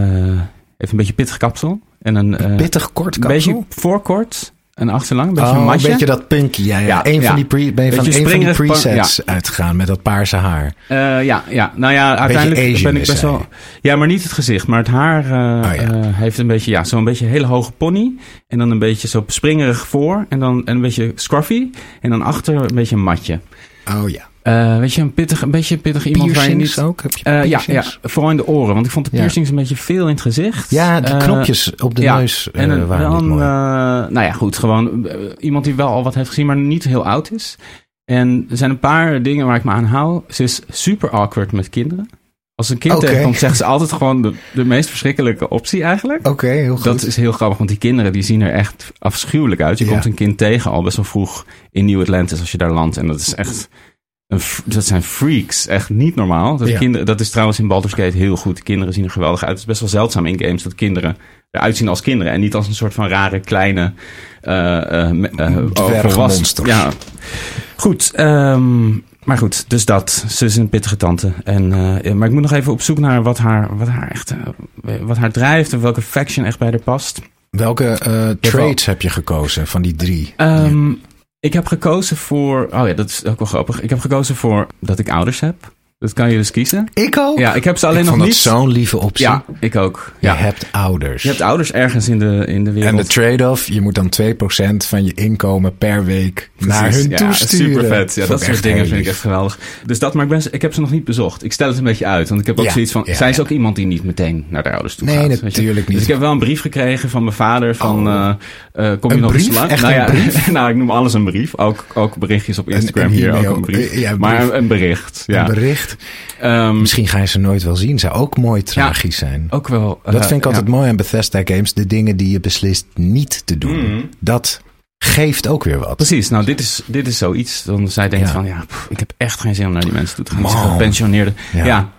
Speaker 1: heeft een beetje pittig kapsel. En een, eh,
Speaker 2: Pittig kort
Speaker 1: een
Speaker 2: kapsel?
Speaker 1: beetje voorkort. Een achterlang? Een beetje een
Speaker 2: Oh,
Speaker 1: matje?
Speaker 2: Een beetje dat punky. Ja, ja.
Speaker 1: Ja,
Speaker 2: een
Speaker 1: ja.
Speaker 2: van die, pre, ben je van,
Speaker 1: Beetje
Speaker 2: een van die
Speaker 1: springerig pa-
Speaker 2: presets uitgegaan met dat paarse haar.
Speaker 1: Eh, ja, ja, nou ja, uiteindelijk
Speaker 2: Asian
Speaker 1: ben ik
Speaker 2: is
Speaker 1: best
Speaker 2: hij.
Speaker 1: wel... Ja, maar niet het gezicht, maar het haar eh,
Speaker 2: Oh, ja.
Speaker 1: eh, heeft een beetje... Ja, zo'n beetje een hele hoge pony. En dan een beetje zo springerig voor. En dan en een beetje scruffy. En dan achter een beetje een matje.
Speaker 2: Oh ja.
Speaker 1: Eh, weet je, een, pittig, een beetje een pittig iemand waar je
Speaker 2: Piercings
Speaker 1: niet...
Speaker 2: ook? Heb je
Speaker 1: Eh, ja, ja,
Speaker 2: piercings?
Speaker 1: vooral in de oren. Want ik vond de
Speaker 2: Ja.
Speaker 1: piercings een beetje veel in het gezicht.
Speaker 2: Ja, de
Speaker 1: Eh,
Speaker 2: knopjes op de
Speaker 1: ja.
Speaker 2: neus eh,
Speaker 1: En een-
Speaker 2: waren
Speaker 1: dan,
Speaker 2: niet mooi.
Speaker 1: eh, nou ja, goed, gewoon eh, iemand die wel al wat heeft gezien, maar niet heel oud is. En er zijn een paar dingen waar ik me aan hou. Ze is super awkward met kinderen. Als ze een kind
Speaker 2: Oké.
Speaker 1: tegenkomt, zegt ze altijd gewoon de, de meest verschrikkelijke optie eigenlijk.
Speaker 2: Oké, heel goed.
Speaker 1: Dat is heel grappig, want die kinderen die zien er echt afschuwelijk uit. Je
Speaker 2: Ja.
Speaker 1: komt een kind tegen al best wel vroeg in New Atlantis als je daar landt. En dat is echt, een, f- dat zijn freaks. Echt niet normaal. Dat,
Speaker 2: Ja.
Speaker 1: kinderen, dat is trouwens in Baldur's Gate heel goed. De kinderen zien er geweldig uit. Het is best wel zeldzaam in games dat kinderen eruit zien als kinderen. En niet als een soort van rare kleine eh, eh, me- eh,
Speaker 2: Dwergmonsters.
Speaker 1: volwassen- Ja. Goed, ehm, maar goed, dus dat. Ze is een pittige tante. En, eh, maar ik moet nog even op zoek naar wat haar, wat haar echt eh, wat haar drijft en welke faction echt bij haar past.
Speaker 2: Welke eh traits heb je gekozen van die drie?
Speaker 1: Ehm, Ik heb gekozen voor. Oh ja, dat is ook wel grappig. Ik heb gekozen voor dat ik ouders heb. Dat kan je dus kiezen.
Speaker 2: ik ook.
Speaker 1: Ja, ik heb ze alleen
Speaker 2: ik
Speaker 1: nog
Speaker 2: vond
Speaker 1: niet.
Speaker 2: dat zo'n lieve optie.
Speaker 1: ja, ik ook.
Speaker 2: Je
Speaker 1: Ja.
Speaker 2: hebt ouders.
Speaker 1: Je hebt ouders ergens in de, in de wereld.
Speaker 2: en de trade-off, je moet dan 2% van je inkomen per week naar
Speaker 1: Precies,
Speaker 2: hun toesturen.
Speaker 1: Super vet. Ja,
Speaker 2: Vond
Speaker 1: dat
Speaker 2: ik
Speaker 1: soort
Speaker 2: echt
Speaker 1: dingen
Speaker 2: heel
Speaker 1: vind ik
Speaker 2: lief.
Speaker 1: echt geweldig. Dus dat, maar ik, ben, ze- ik heb ze nog niet bezocht. Ik stel het een beetje uit. Want ik heb ook
Speaker 2: Ja,
Speaker 1: zoiets van.
Speaker 2: ja,
Speaker 1: zij is
Speaker 2: ja.
Speaker 1: ook iemand die niet meteen naar de ouders toe
Speaker 2: Nee,
Speaker 1: gaat. weet je.
Speaker 2: natuurlijk niet.
Speaker 1: Dus ik heb wel een brief gekregen van mijn vader. Van,
Speaker 2: Oh.
Speaker 1: eh, eh, kom
Speaker 2: Een
Speaker 1: je nog
Speaker 2: brief?
Speaker 1: eens lang?
Speaker 2: Echt
Speaker 1: nou,
Speaker 2: een
Speaker 1: ja, nou, ik noem alles een brief. Ook, ook berichtjes op Instagram
Speaker 2: een
Speaker 1: hier.
Speaker 2: e-mail.
Speaker 1: Ook een brief.
Speaker 2: Eh, ja, een
Speaker 1: maar
Speaker 2: brief.
Speaker 1: een, een bericht. Ja.
Speaker 2: Een bericht.
Speaker 1: Ehm,
Speaker 2: Misschien ga je ze nooit wel zien. Zou ook mooi tragisch zijn.
Speaker 1: ook wel. eh,
Speaker 2: Dat vind ik altijd
Speaker 1: ja.
Speaker 2: mooi aan Bethesda Games. De dingen die je beslist niet te doen.
Speaker 1: Mm.
Speaker 2: Dat geeft ook weer wat.
Speaker 1: Precies, nou dit is, dit is zoiets. Dan zij denkt
Speaker 2: Ja.
Speaker 1: van, ja, pff, ik heb echt geen zin om naar die mensen toe te gaan. Het is
Speaker 2: Man.
Speaker 1: gepensioneerden.
Speaker 2: Ja.
Speaker 1: Ja.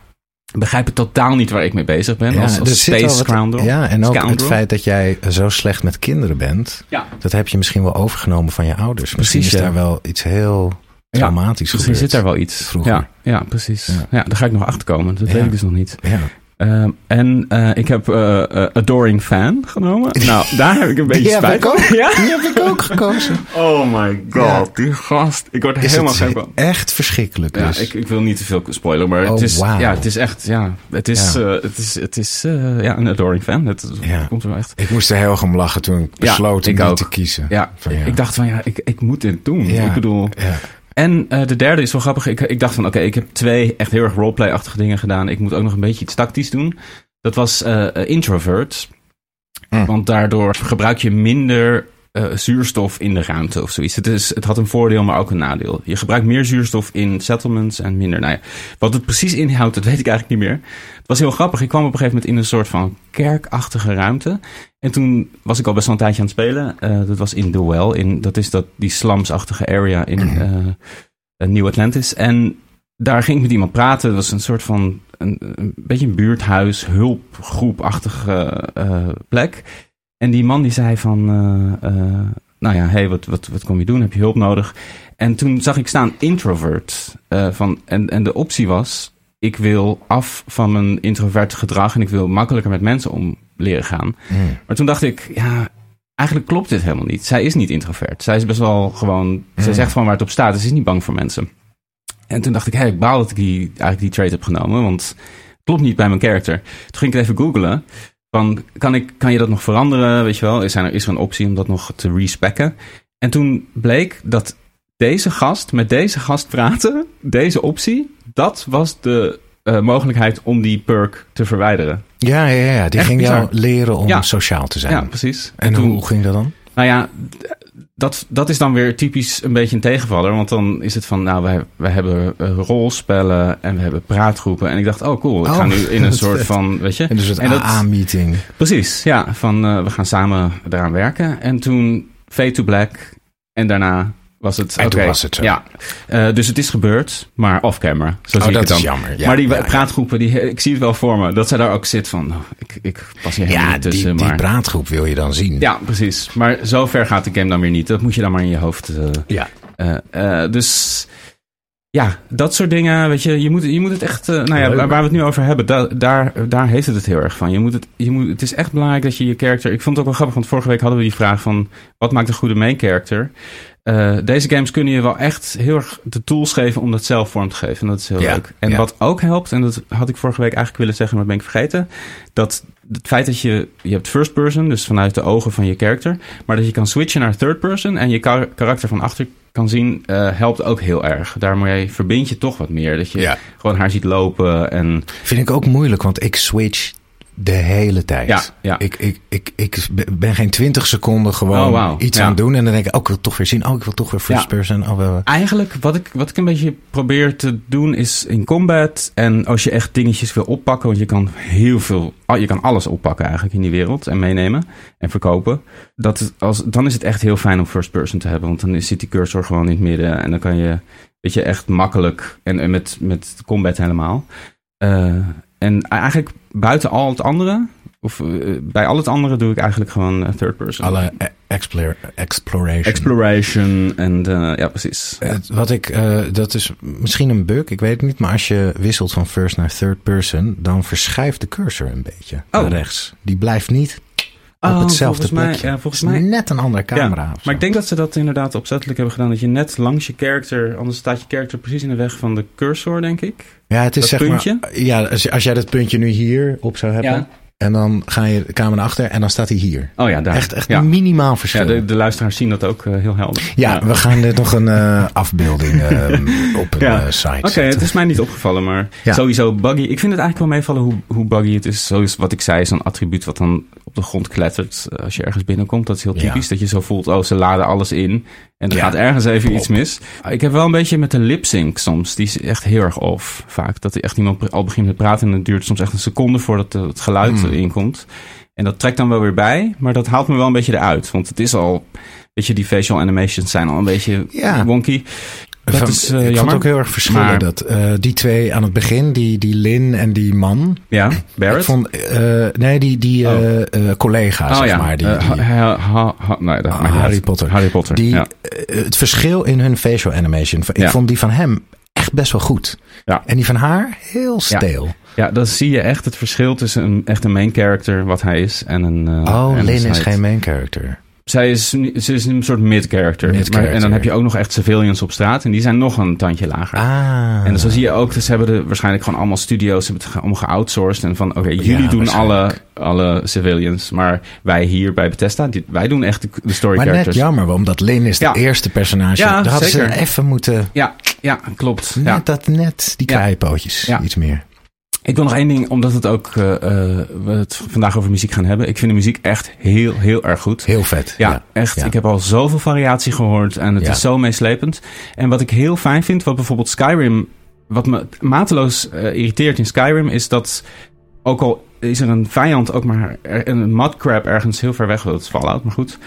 Speaker 1: begrijp het totaal niet waar ik mee bezig ben.
Speaker 2: Ja,
Speaker 1: als
Speaker 2: er
Speaker 1: als
Speaker 2: zit wel
Speaker 1: Space
Speaker 2: wat-
Speaker 1: Scoundrel.
Speaker 2: Ja, en ook het
Speaker 1: Scoundrel.
Speaker 2: feit dat jij zo slecht met kinderen bent.
Speaker 1: Ja.
Speaker 2: Dat heb je misschien wel overgenomen van je ouders. Misschien
Speaker 1: Precies,
Speaker 2: is
Speaker 1: ja.
Speaker 2: daar wel iets heel traumatisch
Speaker 1: Misschien
Speaker 2: gebeurd.
Speaker 1: zit daar wel iets.
Speaker 2: Vroeger.
Speaker 1: Ja, ja precies.
Speaker 2: Ja.
Speaker 1: Ja. daar ga ik nog achter komen. Dat
Speaker 2: Ja.
Speaker 1: weet ik dus nog niet.
Speaker 2: Ja.
Speaker 1: Ehm, en eh, ik heb eh, eh, Adoring Fan genomen. Nou, daar heb ik een beetje
Speaker 2: Die heb
Speaker 1: spijt
Speaker 2: ik ook.
Speaker 1: van. Ja?
Speaker 2: Die heb ik ook gekozen.
Speaker 1: Oh my god, die gast. Ik word er
Speaker 2: Is
Speaker 1: helemaal gek
Speaker 2: het
Speaker 1: van.
Speaker 2: echt verschrikkelijk
Speaker 1: Ja,
Speaker 2: dus.
Speaker 1: ik, ik wil niet te veel spoilen, maar
Speaker 2: Oh,
Speaker 1: het, is,
Speaker 2: wauw.
Speaker 1: ja, het is echt, ja, het is,
Speaker 2: Ja.
Speaker 1: eh, het is, het is eh, ja, een adoring fan. Het, het
Speaker 2: Ja.
Speaker 1: komt er wel echt.
Speaker 2: Ik moest er heel erg om lachen toen ik besloot om
Speaker 1: ik
Speaker 2: niet
Speaker 1: ook.
Speaker 2: te kiezen.
Speaker 1: Ja,
Speaker 2: Van, ja.
Speaker 1: ik dacht van ja, ik, ik moet dit doen.
Speaker 2: Ja.
Speaker 1: Ik bedoel,
Speaker 2: Ja.
Speaker 1: En eh, de derde is wel grappig. Ik, ik dacht van, oké, ik heb twee echt heel erg roleplay-achtige dingen gedaan. Ik moet ook nog een beetje iets tactisch doen. Dat was eh, eh, introvert.
Speaker 2: Mm.
Speaker 1: Want daardoor gebruik je minder eh, zuurstof in de ruimte of zoiets. Het, is, het had een voordeel, maar ook een nadeel. Je gebruikt meer zuurstof in settlements en minder. Nou ja, wat het precies inhoudt, dat weet ik eigenlijk niet meer. Het was heel grappig. Ik kwam op een gegeven moment in een soort van kerkachtige ruimte. En toen was ik al best wel een tijdje aan het spelen. Eh, dat was in The Well. In, dat is dat, die slumsachtige area in eh, New Atlantis. En daar ging ik met iemand praten. Dat was een soort van, een, een beetje een buurthuis, hulpgroepachtige eh, plek. En die man die zei van, eh, eh, nou ja, hey, wat, wat, wat kom je doen? Heb je hulp nodig? En toen zag ik staan introvert. eh, van, en, en de optie was, ik wil af van mijn introvert gedrag en ik wil makkelijker met mensen om leren gaan.
Speaker 2: Mm.
Speaker 1: Maar toen dacht ik, ja, eigenlijk klopt dit helemaal niet. Zij is niet introvert. Zij is best wel gewoon,
Speaker 2: Mm.
Speaker 1: zij zegt van waar het op staat. Ze is niet bang voor mensen. En toen dacht ik, hé, ik baal dat ik die, eigenlijk die trade heb genomen, want het klopt niet bij mijn karakter. Toen ging ik het even googlen. Van, kan, ik, kan je dat nog veranderen? Weet je wel, is er, is er een optie om dat nog te respecken? En toen bleek dat deze gast, met deze gast praten, deze optie, dat was de eh, mogelijkheid om die perk te verwijderen.
Speaker 2: Ja, ja, ja, ja. Die
Speaker 1: Echt
Speaker 2: ging jou
Speaker 1: bizar.
Speaker 2: leren om
Speaker 1: Ja.
Speaker 2: sociaal te zijn.
Speaker 1: Ja, precies.
Speaker 2: En
Speaker 1: toen-
Speaker 2: hoe ging dat dan?
Speaker 1: Nou ja, d- dat, dat is dan weer typisch een beetje een tegenvaller. Want dan is het van, nou, wij, wij hebben eh, rolspellen en we hebben praatgroepen. En ik dacht, oh cool, ik
Speaker 2: Oh,
Speaker 1: ga nu in een
Speaker 2: wat
Speaker 1: soort
Speaker 2: vet.
Speaker 1: van, weet je.
Speaker 2: En dus het
Speaker 1: en dat- Oh,
Speaker 2: AA-meeting.
Speaker 1: Precies, ja. Van, eh, we gaan samen daaraan werken. En toen Fade to Black en daarna was het...
Speaker 2: En toen
Speaker 1: oké,
Speaker 2: was het zo. Oh,
Speaker 1: Ja, Eh, dus het is gebeurd, maar off-camera. Zo zie ik het
Speaker 2: dat
Speaker 1: dan.
Speaker 2: is jammer. Ja,
Speaker 1: maar die
Speaker 2: ja, ja.
Speaker 1: praatgroepen, die, ik zie het wel voor me. Dat zij daar ook zit van, nou, ik, ik pas hier helemaal
Speaker 2: Ja,
Speaker 1: niet
Speaker 2: die,
Speaker 1: tussen.
Speaker 2: die
Speaker 1: maar...
Speaker 2: praatgroep wil je dan zien.
Speaker 1: Ja, precies. Maar zo ver gaat de game dan weer niet. Dat moet je dan maar in je hoofd. eh,
Speaker 2: Ja.
Speaker 1: eh, eh, dus Ja, dat soort dingen, weet je, je moet, je moet het echt, eh, nou ja,
Speaker 2: Leuk.
Speaker 1: waar we het nu over hebben, da- daar, daar heeft het het heel erg van. Je moet het, je moet, het is echt belangrijk dat je je karakter, ik vond het ook wel grappig, want vorige week hadden we die vraag van, wat maakt een goede main character? Eh, deze games kunnen je wel echt heel erg de tools geven om dat zelf vorm te geven. En dat is heel
Speaker 2: Ja,
Speaker 1: leuk. En
Speaker 2: ja.
Speaker 1: wat ook helpt, en dat had ik vorige week eigenlijk willen zeggen, maar dat ben ik vergeten. Dat het feit dat je, je hebt first person, dus vanuit de ogen van je karakter. Maar dat je kan switchen naar third person en je kar- karakter van achter kan zien, eh, helpt ook heel erg. Daarmee verbind je toch wat meer. Dat je
Speaker 2: Ja.
Speaker 1: gewoon haar ziet lopen en...
Speaker 2: Vind ik ook moeilijk, want ik switch de hele tijd.
Speaker 1: Ja, ja.
Speaker 2: Ik, ik, ik, ik ben geen 20 seconden gewoon
Speaker 1: Oh, wauw.
Speaker 2: iets
Speaker 1: Ja.
Speaker 2: aan het doen. En dan denk ik, oh, ik wil het toch weer zien. Oh, ik wil toch weer first
Speaker 1: Ja.
Speaker 2: person. Oh, wel, wel.
Speaker 1: Eigenlijk, wat ik, wat ik een beetje probeer te doen is in combat. En als je echt dingetjes wil oppakken, want je kan heel veel. al- Je kan alles oppakken eigenlijk in die wereld en meenemen en verkopen. Dat is als, dan is het echt heel fijn om first person te hebben. Want dan is- zit die cursor gewoon in het midden. En dan kan je, weet je, echt makkelijk. En, en met, met combat helemaal. Eh, en eigenlijk buiten al het andere. Of eh, bij al het andere doe ik eigenlijk gewoon eh, third person.
Speaker 2: Alle e- explore- exploration.
Speaker 1: Exploration en eh, ja, precies.
Speaker 2: Het- wat ik, eh, dat is misschien een bug, ik weet het niet. Maar als je wisselt van first naar third person, dan verschuift de cursor een beetje
Speaker 1: Oh.
Speaker 2: naar rechts. Die blijft niet op
Speaker 1: Oh,
Speaker 2: hetzelfde
Speaker 1: volgens mij-
Speaker 2: plekje.
Speaker 1: ja,
Speaker 2: Het
Speaker 1: volgens
Speaker 2: is
Speaker 1: mij
Speaker 2: net een andere camera. of zo.
Speaker 1: Maar ik denk dat ze dat inderdaad opzettelijk hebben gedaan. Dat je net langs je character, anders staat je character precies in de weg van de cursor, denk ik.
Speaker 2: ja, het is
Speaker 1: dat
Speaker 2: zeg
Speaker 1: puntje?
Speaker 2: maar. Ja, als, als jij dat puntje nu hier op zou hebben.
Speaker 1: Ja.
Speaker 2: En dan ga je de kamer naar achter en dan staat hij hier.
Speaker 1: Oh ja, daar.
Speaker 2: Echt, echt
Speaker 1: ja.
Speaker 2: minimaal
Speaker 1: Ja,
Speaker 2: verschil. Ja,
Speaker 1: de, de luisteraars zien dat ook eh, heel helder.
Speaker 2: we gaan dit nog een eh, afbeelding eh, op een
Speaker 1: Ja.
Speaker 2: eh, site
Speaker 1: Oké, het
Speaker 2: zetten.
Speaker 1: is mij niet opgevallen, maar
Speaker 2: Ja.
Speaker 1: sowieso buggy. Ik vind het eigenlijk wel meevallen hoe, hoe buggy het is. Zoals wat ik zei, is een attribuut wat dan op de grond klettert eh, als je ergens binnenkomt. Dat is heel
Speaker 2: Ja.
Speaker 1: typisch, dat je zo voelt, oh, ze laden alles in. En er
Speaker 2: Ja.
Speaker 1: gaat ergens even
Speaker 2: Plop.
Speaker 1: iets mis. Ik heb wel een beetje met de lip sync soms. Die is echt heel erg off, vaak. Dat er echt iemand pre- al begint met praten en het duurt soms echt een seconde voordat eh, het geluid
Speaker 2: Hmm.
Speaker 1: erin komt. En dat trekt dan wel weer bij, maar dat haalt me wel een beetje eruit. Want het is al, weet je, die facial animations zijn al een beetje
Speaker 2: Ja.
Speaker 1: wonky. dat
Speaker 2: Van-
Speaker 1: is, eh,
Speaker 2: ik vond
Speaker 1: jammer.
Speaker 2: het ook heel erg verschillen
Speaker 1: Maar-
Speaker 2: dat eh, die twee aan het begin, die, die Lin en die man.
Speaker 1: Ja,
Speaker 2: Ik
Speaker 1: Barrett?
Speaker 2: vond, eh, nee, die, die
Speaker 1: Oh.
Speaker 2: eh, eh, collega, zeg maar. Die,
Speaker 1: Eh,
Speaker 2: die-
Speaker 1: ha- ha- ha- nee, dat
Speaker 2: Ah,
Speaker 1: maakt niet
Speaker 2: Harry
Speaker 1: uit.
Speaker 2: Potter.
Speaker 1: Harry Potter.
Speaker 2: die,
Speaker 1: ja.
Speaker 2: eh, het verschil in hun facial animation. Ik
Speaker 1: Ja.
Speaker 2: vond die van hem echt best wel goed.
Speaker 1: Ja.
Speaker 2: En die van haar heel steel.
Speaker 1: ja, dan zie je echt het verschil tussen een, echt een main character, wat hij is, en een. eh, en
Speaker 2: Oh,
Speaker 1: een
Speaker 2: Lin is
Speaker 1: side.
Speaker 2: geen main character.
Speaker 1: Zij is, ni- ze is een soort mid-character.
Speaker 2: Mid-character.
Speaker 1: Maar- En dan heb je ook nog echt civilians op straat, en die zijn nog een tandje lager.
Speaker 2: Ah.
Speaker 1: En zo zie je ook, dus ze hebben de, waarschijnlijk gewoon allemaal studio's hebben het ge- allemaal geoutsourced. En van, oké, jullie doen alle,
Speaker 2: waarschijnlijk.
Speaker 1: alle civilians. Maar wij hier bij Bethesda, dit, wij doen echt de, de story
Speaker 2: maar net
Speaker 1: characters.
Speaker 2: jammer, want omdat Lin is de
Speaker 1: Ja.
Speaker 2: eerste personage.
Speaker 1: Ja,
Speaker 2: Daar hadden
Speaker 1: zeker.
Speaker 2: ze even moeten...
Speaker 1: ja, ja, klopt.
Speaker 2: Net
Speaker 1: Ja.
Speaker 2: dat net, die
Speaker 1: Ja.
Speaker 2: kraaienpootjes,
Speaker 1: Ja.
Speaker 2: iets meer.
Speaker 1: Ik wil nog één ding, omdat het ook, eh, eh, we het vandaag over muziek gaan hebben. Ik vind de muziek echt heel, heel erg goed.
Speaker 2: Heel vet.
Speaker 1: Ja, echt.
Speaker 2: ja.
Speaker 1: Ik heb al zoveel variatie gehoord en het
Speaker 2: Ja.
Speaker 1: is zo meeslepend. En wat ik heel fijn vind, wat bijvoorbeeld Skyrim, wat me mateloos eh, irriteert in Skyrim, is dat ook al is er een vijand, ook maar er- een mudcrab ergens heel ver weg, dat is Fallout, maar goed.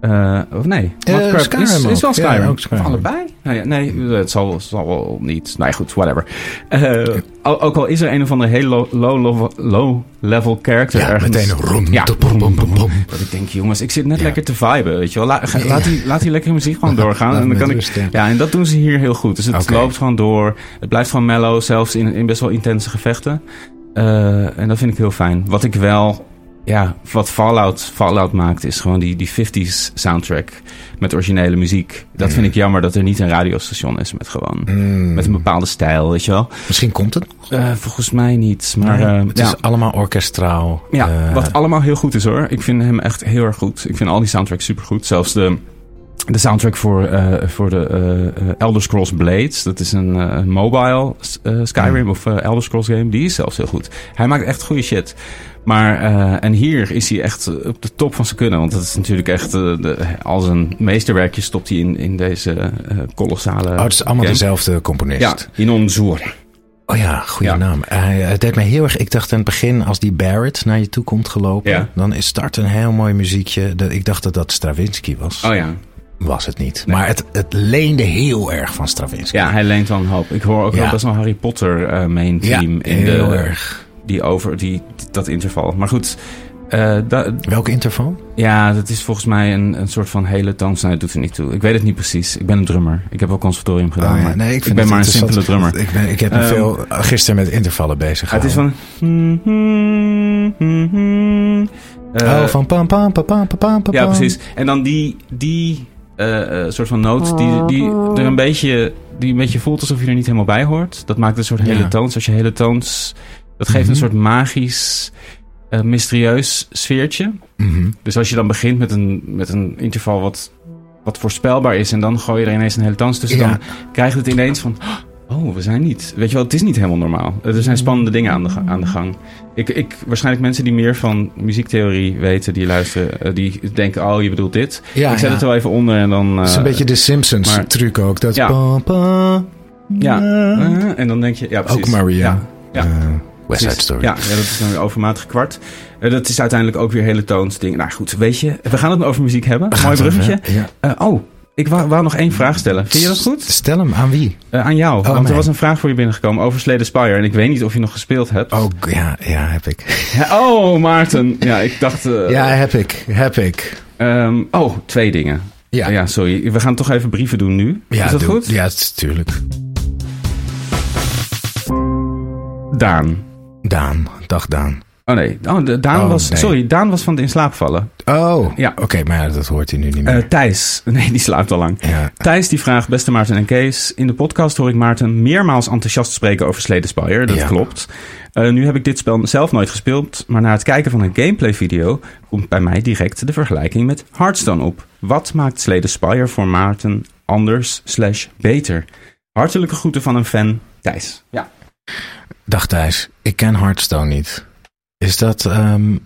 Speaker 1: Eh, of nee,
Speaker 2: Eh,
Speaker 1: Mudcrab
Speaker 2: Skyrim
Speaker 1: is, is wel
Speaker 2: ook. Ja,
Speaker 1: Skyrim.
Speaker 2: ook Skyrim.
Speaker 1: Of allebei? Nou ja, nee, het zal, het zal wel niet. Nee, goed, whatever. Eh, al- ook al is er een of andere hele low-level low, level character
Speaker 2: Ja,
Speaker 1: ergens.
Speaker 2: meteen rom.
Speaker 1: Ja.
Speaker 2: Ja. Bom, bom, bom, bom.
Speaker 1: Dat ik denk, jongens, ik zit net
Speaker 2: Ja.
Speaker 1: lekker te viben, weet je wel. La- ga-
Speaker 2: Ja.
Speaker 1: laat, die, laat die lekkere muziek gewoon doorgaan.
Speaker 2: Laat
Speaker 1: en dan
Speaker 2: met
Speaker 1: kan ik...
Speaker 2: rust, ja.
Speaker 1: Ja, en dat doen ze hier heel goed. Dus het
Speaker 2: Oké.
Speaker 1: loopt gewoon door. Het blijft gewoon mellow, zelfs in, in best wel intense gevechten. Eh, en dat vind ik heel fijn. Wat ik wel... Ja, wat Fallout, Fallout maakt is gewoon die, die 50s soundtrack met originele muziek. Dat
Speaker 2: Mm.
Speaker 1: vind ik jammer dat er niet een radiostation is met gewoon...
Speaker 2: Mm.
Speaker 1: Met een bepaalde stijl, weet je wel.
Speaker 2: Misschien komt het nog.
Speaker 1: Eh, volgens mij niet, maar...
Speaker 2: Nee,
Speaker 1: eh,
Speaker 2: het
Speaker 1: ja.
Speaker 2: is allemaal orkestraal.
Speaker 1: Ja,
Speaker 2: eh,
Speaker 1: wat allemaal heel goed is hoor. Ik vind hem echt heel erg goed. Ik vind al die soundtracks super goed. Zelfs de, de soundtrack voor, eh, voor de eh, eh, Elder Scrolls Blades. Dat is een eh, mobile eh, Skyrim of eh, Elder Scrolls game. Die is zelfs heel goed. Hij maakt echt goede shit. Maar, eh, en hier is hij echt op de top van zijn kunnen. Want dat is natuurlijk echt, eh, de, als een meesterwerkje stopt hij in, in deze eh, kolossale...
Speaker 2: oh, het is allemaal
Speaker 1: game.
Speaker 2: dezelfde componist.
Speaker 1: Ja, Inon Zur.
Speaker 2: Oh ja, goede
Speaker 1: Ja.
Speaker 2: naam. Hij, eh, het deed mij heel erg... Ik dacht in het begin, als die Barrett naar je toe komt gelopen...
Speaker 1: Ja.
Speaker 2: dan is start een heel mooi muziekje. Dat, ik dacht dat dat Stravinsky was.
Speaker 1: Oh ja.
Speaker 2: Was het niet. Maar het, het leende heel erg van Stravinsky.
Speaker 1: Ja, hij leent wel een hoop. Ik hoor ook
Speaker 2: Ja.
Speaker 1: wel best wel Harry Potter eh main
Speaker 2: Ja,
Speaker 1: theme in
Speaker 2: heel
Speaker 1: de,
Speaker 2: erg.
Speaker 1: die over die, dat interval. Maar goed, eh, Eh, da-
Speaker 2: Welk interval?
Speaker 1: ja, dat is volgens mij een, een soort van hele toons. Nee, dat doet er niet toe. Ik weet het niet precies. Ik ben een drummer. Ik heb wel conservatorium gedaan.
Speaker 2: Oh ja,
Speaker 1: maar
Speaker 2: nee,
Speaker 1: ik ben
Speaker 2: het
Speaker 1: maar een
Speaker 2: interessant.
Speaker 1: simpele drummer.
Speaker 2: Ik, ben, ik heb me
Speaker 1: Ehm,
Speaker 2: veel gisteren met intervallen bezig
Speaker 1: het is
Speaker 2: gehouden.
Speaker 1: van... hmm, Eh,
Speaker 2: oh, van pam, pam, pam, pam, pam, pam, pam.
Speaker 1: hmm. Ja, precies. En dan die, die eh, eh, soort van noot die, die er een beetje... die een beetje voelt alsof je er niet helemaal bij hoort. Dat maakt een soort hele
Speaker 2: Ja.
Speaker 1: toons. Als je hele toons... dat geeft
Speaker 2: Mhm.
Speaker 1: een soort magisch, eh, mysterieus sfeertje.
Speaker 2: Mhm.
Speaker 1: Dus als je dan begint met een, met een interval wat, wat voorspelbaar is... en dan gooi je er ineens een hele toons tussen...
Speaker 2: Ja.
Speaker 1: dan krijgt het ineens van... Oh, we zijn niet. Weet je wel, het is niet helemaal normaal. Er zijn spannende dingen aan de, ga- aan de gang. Ik, ik, waarschijnlijk mensen die meer van muziektheorie weten, die luisteren, eh, die denken: oh, je bedoelt dit.
Speaker 2: Ja,
Speaker 1: ik zet
Speaker 2: ja.
Speaker 1: het er wel even onder en dan.
Speaker 2: Het is een
Speaker 1: eh,
Speaker 2: beetje de Simpsons
Speaker 1: maar-
Speaker 2: truc ook. Dat
Speaker 1: Ja.
Speaker 2: pam, pam,
Speaker 1: Ja.
Speaker 2: na.
Speaker 1: eh, en dan denk je: ja, precies.
Speaker 2: Ook Maria.
Speaker 1: Ja, ja.
Speaker 2: Eh, West
Speaker 1: precies.
Speaker 2: Side Story.
Speaker 1: Ja, ja, dat is dan weer overmatig kwart. Eh, dat is uiteindelijk ook weer hele toonsdingen. Nou goed, weet je, we gaan het over muziek hebben. Mooi bruggetje.
Speaker 2: Ja.
Speaker 1: Eh, oh, ik wou, wou nog één vraag stellen. Vind je dat goed?
Speaker 2: Stel hem aan wie?
Speaker 1: Eh, aan jou. want
Speaker 2: mij.
Speaker 1: er was een vraag voor je binnengekomen over Slade Spire. En ik weet niet of je nog gespeeld hebt.
Speaker 2: Oh, ja, ja, heb ik.
Speaker 1: Ja, oh Maarten. Ja, ik dacht. eh,
Speaker 2: Ja, heb ik. Heb ik.
Speaker 1: Ehm, oh, twee dingen.
Speaker 2: Ja,
Speaker 1: Ja. sorry. We gaan toch even brieven doen nu.
Speaker 2: Ja,
Speaker 1: is dat
Speaker 2: doe-
Speaker 1: goed?
Speaker 2: Ja, het is tuurlijk.
Speaker 1: Daan.
Speaker 2: Daan. Dag Daan.
Speaker 1: Oh nee, oh, de- Daan
Speaker 2: Oh,
Speaker 1: was.
Speaker 2: nee.
Speaker 1: Sorry, Daan was van de in slaap vallen.
Speaker 2: Oh,
Speaker 1: Ja.
Speaker 2: oké, maar ja, dat hoort hij nu niet
Speaker 1: Eh,
Speaker 2: meer.
Speaker 1: Thijs. Nee, die slaapt al lang.
Speaker 2: ja.
Speaker 1: Thijs die vraagt, beste Maarten en Kees. In de podcast hoor ik Maarten meermaals enthousiast spreken over Slay the Spire. Dat
Speaker 2: Ja.
Speaker 1: klopt. Eh, nu heb ik dit spel zelf nooit gespeeld. Maar na het kijken van een gameplay video komt bij mij direct de vergelijking met Hearthstone op. Wat maakt Slay the Spire voor Maarten anders slash beter? Hartelijke groeten van een fan, Thijs. Ja.
Speaker 2: Dag Thijs, ik ken Hearthstone niet. Is dat... ehm,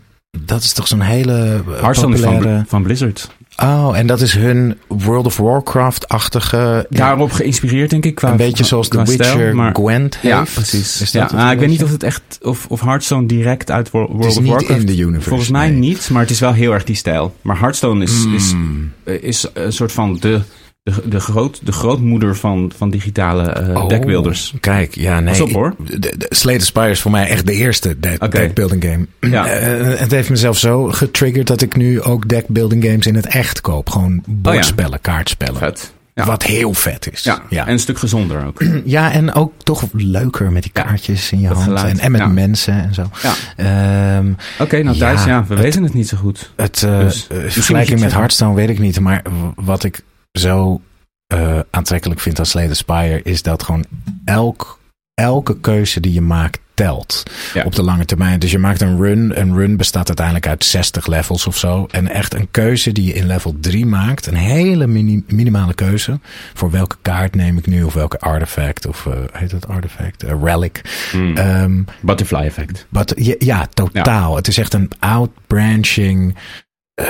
Speaker 2: dat is toch zo'n hele eh,
Speaker 1: Hearthstone is van,
Speaker 2: populaire...
Speaker 1: Bl- van Blizzard.
Speaker 2: Oh, en dat is hun World of Warcraft-achtige...
Speaker 1: Daarop geïnspireerd, denk ik. Qua,
Speaker 2: een beetje zoals The
Speaker 1: qua
Speaker 2: Witcher
Speaker 1: stijl, maar-
Speaker 2: Gwent heeft.
Speaker 1: Ja, precies.
Speaker 2: Is dat
Speaker 1: ja,
Speaker 2: het
Speaker 1: ah,
Speaker 2: een
Speaker 1: ik weet niet
Speaker 2: beetje?
Speaker 1: of het echt. Of, of Hearthstone direct uit Wor- World
Speaker 2: Het is
Speaker 1: of
Speaker 2: niet
Speaker 1: Warcraft.
Speaker 2: in de universe.
Speaker 1: Volgens mij
Speaker 2: nee.
Speaker 1: niet, maar het is wel heel erg die stijl. Maar Hearthstone is, is,
Speaker 2: Mm.
Speaker 1: eh, is een soort van de, de, de, groot, de grootmoeder van, van digitale eh
Speaker 2: Oh,
Speaker 1: deckbuilders.
Speaker 2: Kijk, ja, nee.
Speaker 1: Pas op, hoor.
Speaker 2: ik- de- de- Slay the Spire is voor mij echt de eerste de-
Speaker 1: Oké.
Speaker 2: deckbuilding game.
Speaker 1: Ja.
Speaker 2: Eh, het heeft mezelf zo getriggerd dat ik nu ook deckbuilding games in het echt koop. Gewoon bordspellen, kaartspellen.
Speaker 1: Oh, Vet. Ja.
Speaker 2: Wat heel vet is.
Speaker 1: Ja.
Speaker 2: Ja.
Speaker 1: en een stuk gezonder ook.
Speaker 2: Ja, en ook toch leuker met die
Speaker 1: Ja,
Speaker 2: kaartjes in je
Speaker 1: dat
Speaker 2: hand.
Speaker 1: geluid,
Speaker 2: en, en met
Speaker 1: ja.
Speaker 2: mensen en zo.
Speaker 1: Ja.
Speaker 2: Ehm,
Speaker 1: Oké, nou
Speaker 2: Ja,
Speaker 1: Thijs, ja, we weten het niet zo goed.
Speaker 2: het eh,
Speaker 1: Dus,
Speaker 2: eh,
Speaker 1: moet je het
Speaker 2: vergelijking met
Speaker 1: zeggen.
Speaker 2: Hearthstone weet ik niet. Maar w- wat ik zo eh, aantrekkelijk vind aan Slay the Spire... is dat gewoon elk, elke keuze die je maakt telt
Speaker 1: Ja.
Speaker 2: op de lange termijn. Dus je maakt een run. Een run bestaat uiteindelijk uit 60 levels of zo. En echt een keuze die je in level 3 maakt. Een hele mini- minimale keuze. Voor welke kaart neem ik nu? Of welke artifact? Of eh, heet dat artifact? Eh, relic.
Speaker 1: Hmm.
Speaker 2: Ehm,
Speaker 1: Butterfly effect.
Speaker 2: wat, ja, ja, totaal. Het is echt een outbranching. eh,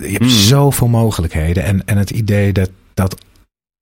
Speaker 2: je hebt
Speaker 1: Mhm.
Speaker 2: zoveel mogelijkheden. En, en het idee dat, dat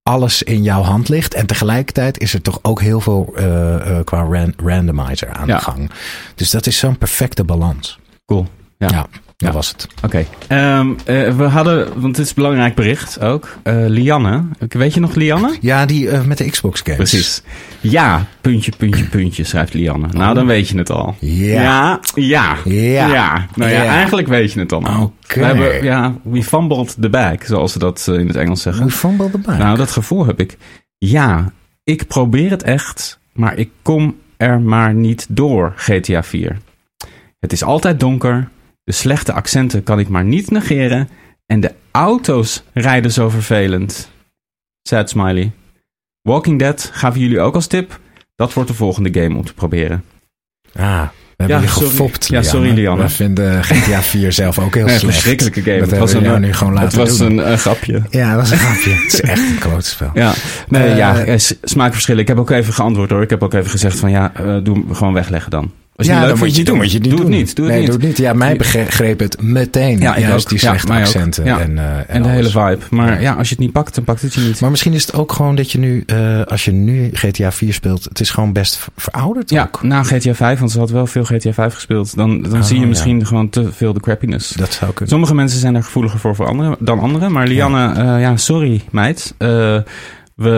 Speaker 2: alles in jouw hand ligt. En tegelijkertijd is er toch ook heel veel eh, eh, qua ran- randomizer aan
Speaker 1: Ja.
Speaker 2: de gang. Dus dat is zo'n perfecte balans.
Speaker 1: Cool. Ja. Ja.
Speaker 2: Dat was het.
Speaker 1: Oké. Ehm, eh, we hadden, want dit is een belangrijk bericht ook. Eh, Lianne, weet je nog Lianne?
Speaker 2: Ja, die eh, met de Xbox games.
Speaker 1: Precies. Ja, puntje, puntje, puntje, schrijft Lianne. Nou, dan weet je het al.
Speaker 2: Ja.
Speaker 1: Ja, ja.
Speaker 2: Ja.
Speaker 1: Ja. Nou ja,
Speaker 2: Ja.
Speaker 1: eigenlijk weet je het dan al.
Speaker 2: Oké.
Speaker 1: We hebben, ja, we fumbled the bag, zoals ze dat eh, in het Engels zeggen.
Speaker 2: Hoe van wel erbij?
Speaker 1: Nou, dat gevoel heb ik. Ja, ik probeer het echt, maar ik kom er maar niet door, GTA 4. Het is altijd donker, de slechte accenten kan ik maar niet negeren en de auto's rijden zo vervelend. Sad smiley. Walking Dead gaven jullie ook als tip. Dat wordt de volgende game om te proberen.
Speaker 2: ah, we hebben
Speaker 1: Ja,
Speaker 2: je
Speaker 1: sorry.
Speaker 2: gefopt,
Speaker 1: Ja, sorry, Lianne.
Speaker 2: We vinden GTA 4 zelf ook heel
Speaker 1: Nee,
Speaker 2: slecht.
Speaker 1: verschrikkelijke game.
Speaker 2: Dat
Speaker 1: Het was
Speaker 2: hebben we
Speaker 1: een,
Speaker 2: jou nu gewoon laten
Speaker 1: Het was
Speaker 2: doen.
Speaker 1: een eh, grapje.
Speaker 2: Ja, dat was een grapje. het is echt een klootspel.
Speaker 1: Ja, nee,
Speaker 2: Eh,
Speaker 1: ja, eh, s- smaakverschillen. Ik heb ook even geantwoord hoor. Ik heb ook even gezegd van ja, eh, doe hem gewoon wegleggen dan. Als je het niet leuk
Speaker 2: dan
Speaker 1: vindt,
Speaker 2: dan
Speaker 1: doe het niet. Doe het niet. Doe het
Speaker 2: nee,
Speaker 1: niet.
Speaker 2: doe het niet. Ja, mij begreep het meteen.
Speaker 1: Ja, ik
Speaker 2: Juist
Speaker 1: ook.
Speaker 2: die
Speaker 1: Ja,
Speaker 2: slechte
Speaker 1: mij ook.
Speaker 2: accenten.
Speaker 1: Ja.
Speaker 2: En, eh, en
Speaker 1: en de hele
Speaker 2: alles.
Speaker 1: vibe. Maar ja, als je het niet pakt, dan pakt het je niet.
Speaker 2: Maar misschien is het ook gewoon dat je nu, eh, als je nu GTA 4 speelt, het is gewoon best ver- verouderd
Speaker 1: ja,
Speaker 2: ook.
Speaker 1: na GTA 5, want ze had wel veel GTA 5 gespeeld. Dan, dan
Speaker 2: Oh,
Speaker 1: zie je
Speaker 2: ja.
Speaker 1: misschien gewoon te veel de crappiness.
Speaker 2: Dat zou kunnen.
Speaker 1: Sommige mensen zijn daar gevoeliger voor, voor anderen, dan anderen. Maar Lianne, eh, ja, sorry meid. Eh, We,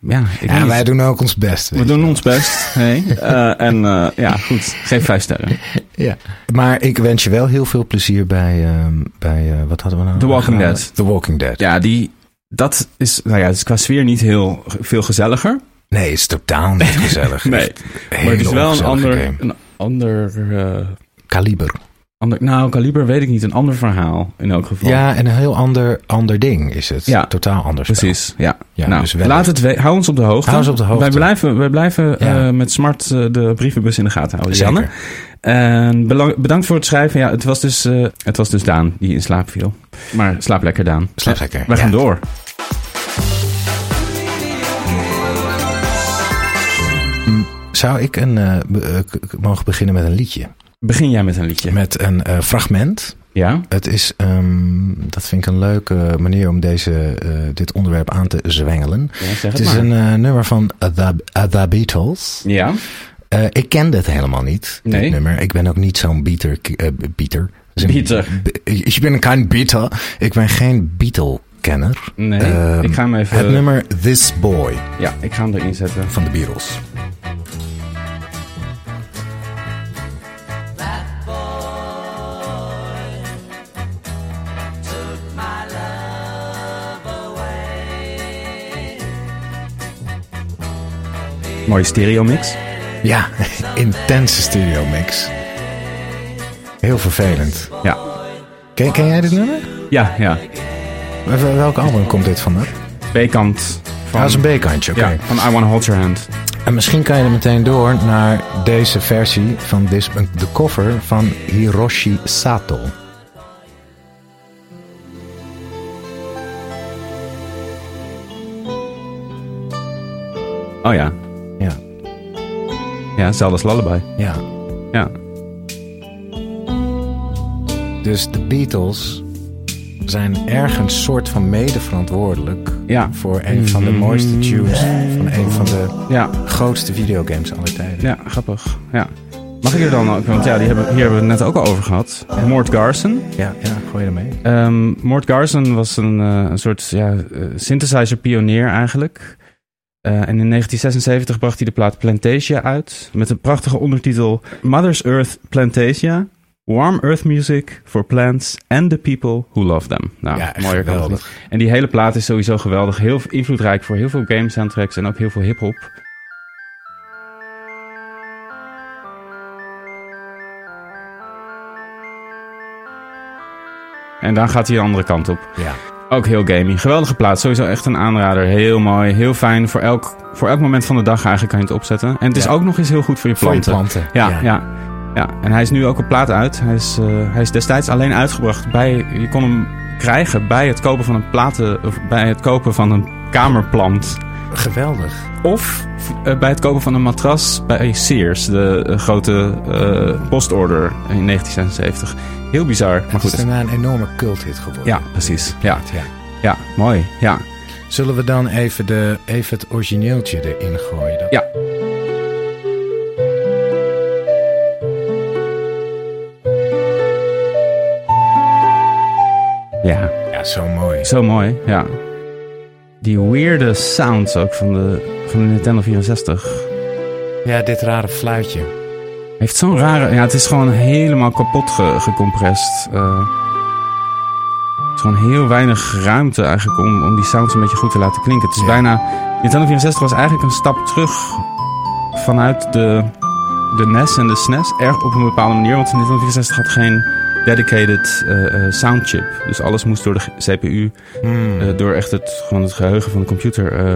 Speaker 1: ja, ik
Speaker 2: Ja,
Speaker 1: weet
Speaker 2: wij
Speaker 1: niet.
Speaker 2: doen ook ons best.
Speaker 1: we
Speaker 2: weet
Speaker 1: doen
Speaker 2: je.
Speaker 1: ons best. Hey. Eh, en eh, ja, goed. Geef vijf sterren.
Speaker 2: Ja. Maar ik wens je wel heel veel plezier bij, ehm, bij eh, wat hadden we nou?
Speaker 1: The Walking
Speaker 2: gedaan?
Speaker 1: Dead.
Speaker 2: The Walking Dead.
Speaker 1: Ja, die, dat is, nou ja, het is qua sfeer niet heel veel gezelliger.
Speaker 2: Nee, het is totaal niet gezellig.
Speaker 1: Nee, maar het is wel een ander, een ander, eh,
Speaker 2: kaliber.
Speaker 1: ander, nou, kaliber weet ik niet. Een ander verhaal in elk geval.
Speaker 2: Ja, en een heel ander, ander ding is het.
Speaker 1: Ja.
Speaker 2: totaal anders.
Speaker 1: Precies, ja.
Speaker 2: Ja,
Speaker 1: nou,
Speaker 2: dus wel-
Speaker 1: laat het we- hou ons op de hoogte.
Speaker 2: Hou ons op de hoogte.
Speaker 1: Wij blijven, wij blijven
Speaker 2: Ja.
Speaker 1: eh, met smart eh, de brievenbus in de gaten houden.
Speaker 2: Zeker.
Speaker 1: Janne. En belang- bedankt voor het schrijven. Ja, het was, dus, eh, het was dus Daan die in slaap viel. Maar slaap lekker, Daan.
Speaker 2: Slaap lekker,
Speaker 1: We gaan
Speaker 2: ja.
Speaker 1: door.
Speaker 2: Zou ik een, eh, be- eh, k- k- mogen beginnen met een liedje?
Speaker 1: Begin jij met een liedje.
Speaker 2: Met een eh, fragment.
Speaker 1: Ja?
Speaker 2: Het is, ehm, dat vind ik een leuke manier om deze, eh, dit onderwerp aan te zwengelen.
Speaker 1: ja zeg
Speaker 2: Het
Speaker 1: het,
Speaker 2: is
Speaker 1: maar.
Speaker 2: een eh, nummer van The, The Beatles.
Speaker 1: Ja?
Speaker 2: Eh, ik ken dit helemaal niet, dit
Speaker 1: Nee.
Speaker 2: nummer. Ik ben ook niet zo'n beater. eh, beater. Dus een-
Speaker 1: Beater.
Speaker 2: be- Ik ben geen beater. Ik ben geen Beatle-kenner.
Speaker 1: Nee,
Speaker 2: Ehm,
Speaker 1: ik ga hem even...
Speaker 2: Het nummer This Boy
Speaker 1: Ja, ik ga hem erin zetten.
Speaker 2: van de Beatles.
Speaker 1: Mooie stereo mix.
Speaker 2: Ja, intense studio mix. Heel vervelend.
Speaker 1: Ja.
Speaker 2: Ken, ken jij dit nummer?
Speaker 1: Ja, ja.
Speaker 2: Wel- wel- Welk album komt dit vandaan?
Speaker 1: B-kant van...
Speaker 2: Dat is een B-kantje, oké.
Speaker 1: Ja, van I Wanna Hold Your Hand.
Speaker 2: En misschien kan je er meteen door naar deze versie van this, de cover van Hiroshi Sato.
Speaker 1: Oh ja.
Speaker 2: Ja,
Speaker 1: Ja, hetzelfde als Lullaby.
Speaker 2: ja.
Speaker 1: Ja.
Speaker 2: Dus de Beatles zijn ergens soort van mede verantwoordelijk
Speaker 1: Ja.
Speaker 2: voor een van de mooiste tunes van een van de
Speaker 1: Ja.
Speaker 2: grootste videogames aller tijden.
Speaker 1: Ja, grappig. Ja. Mag ik er dan ook, want ja, die hebben, hier hebben we het net ook al over gehad. Mort Garson.
Speaker 2: Ja, ja, gooi je ermee.
Speaker 1: Ehm Mort Garson was een, eh, een soort ja, eh, synthesizer-pionier eigenlijk. Eh, en in 1976 bracht hij de plaat Plantasia uit. Met een prachtige ondertitel Mother's Earth Plantasia. Warm Earth Music for Plants and the People Who Love Them. Nou,
Speaker 2: Ja, echt
Speaker 1: mooier kan het
Speaker 2: geweldig.
Speaker 1: niet. En die hele plaat is sowieso geweldig. Heel invloedrijk voor heel veel game soundtracks en ook heel veel hip-hop. En dan gaat hij de andere kant op.
Speaker 2: Ja.
Speaker 1: Ook heel gaming. Geweldige plaats. Sowieso echt een aanrader. Heel mooi. Heel fijn. Voor elk, voor elk moment van de dag eigenlijk kan je het opzetten. En het is
Speaker 2: Ja.
Speaker 1: ook nog eens heel goed voor je
Speaker 2: Voor je
Speaker 1: planten.
Speaker 2: planten.
Speaker 1: Ja, ja. ja. en hij is nu ook een plaat uit. Hij is, eh, hij is destijds alleen uitgebracht bij. Je kon hem krijgen bij het kopen van een platen. Of bij het kopen van een kamerplant.
Speaker 2: Geweldig.
Speaker 1: Of eh, bij het kopen van een matras bij Sears. De eh, grote eh, postorder in 1976. Heel bizar. Maar
Speaker 2: Het is
Speaker 1: goed.
Speaker 2: daarna een enorme culthit geworden.
Speaker 1: Ja, precies. Ja,
Speaker 2: Ja.
Speaker 1: ja mooi. Ja.
Speaker 2: Zullen we dan even, de, even het origineeltje erin gooien? Dan?
Speaker 1: Ja. Ja.
Speaker 2: Ja, zo mooi.
Speaker 1: Zo mooi, ja. Die weirde sounds ook van de, van de Nintendo 64.
Speaker 2: Ja, dit rare fluitje.
Speaker 1: Heeft zo'n rare... Ja, het is gewoon helemaal kapot ge- gecompressed. Eh, er is gewoon heel weinig ruimte eigenlijk om, om die sounds een beetje goed te laten klinken. Het is
Speaker 2: Ja.
Speaker 1: bijna... Nintendo 64 was eigenlijk een stap terug vanuit de, de NES en de SNES. Erg op een bepaalde manier, want de Nintendo 64 had geen dedicated eh, eh, soundchip. Dus alles moest door de g- CPU
Speaker 2: Hmm.
Speaker 1: eh, door echt het, gewoon het geheugen van de computer eh,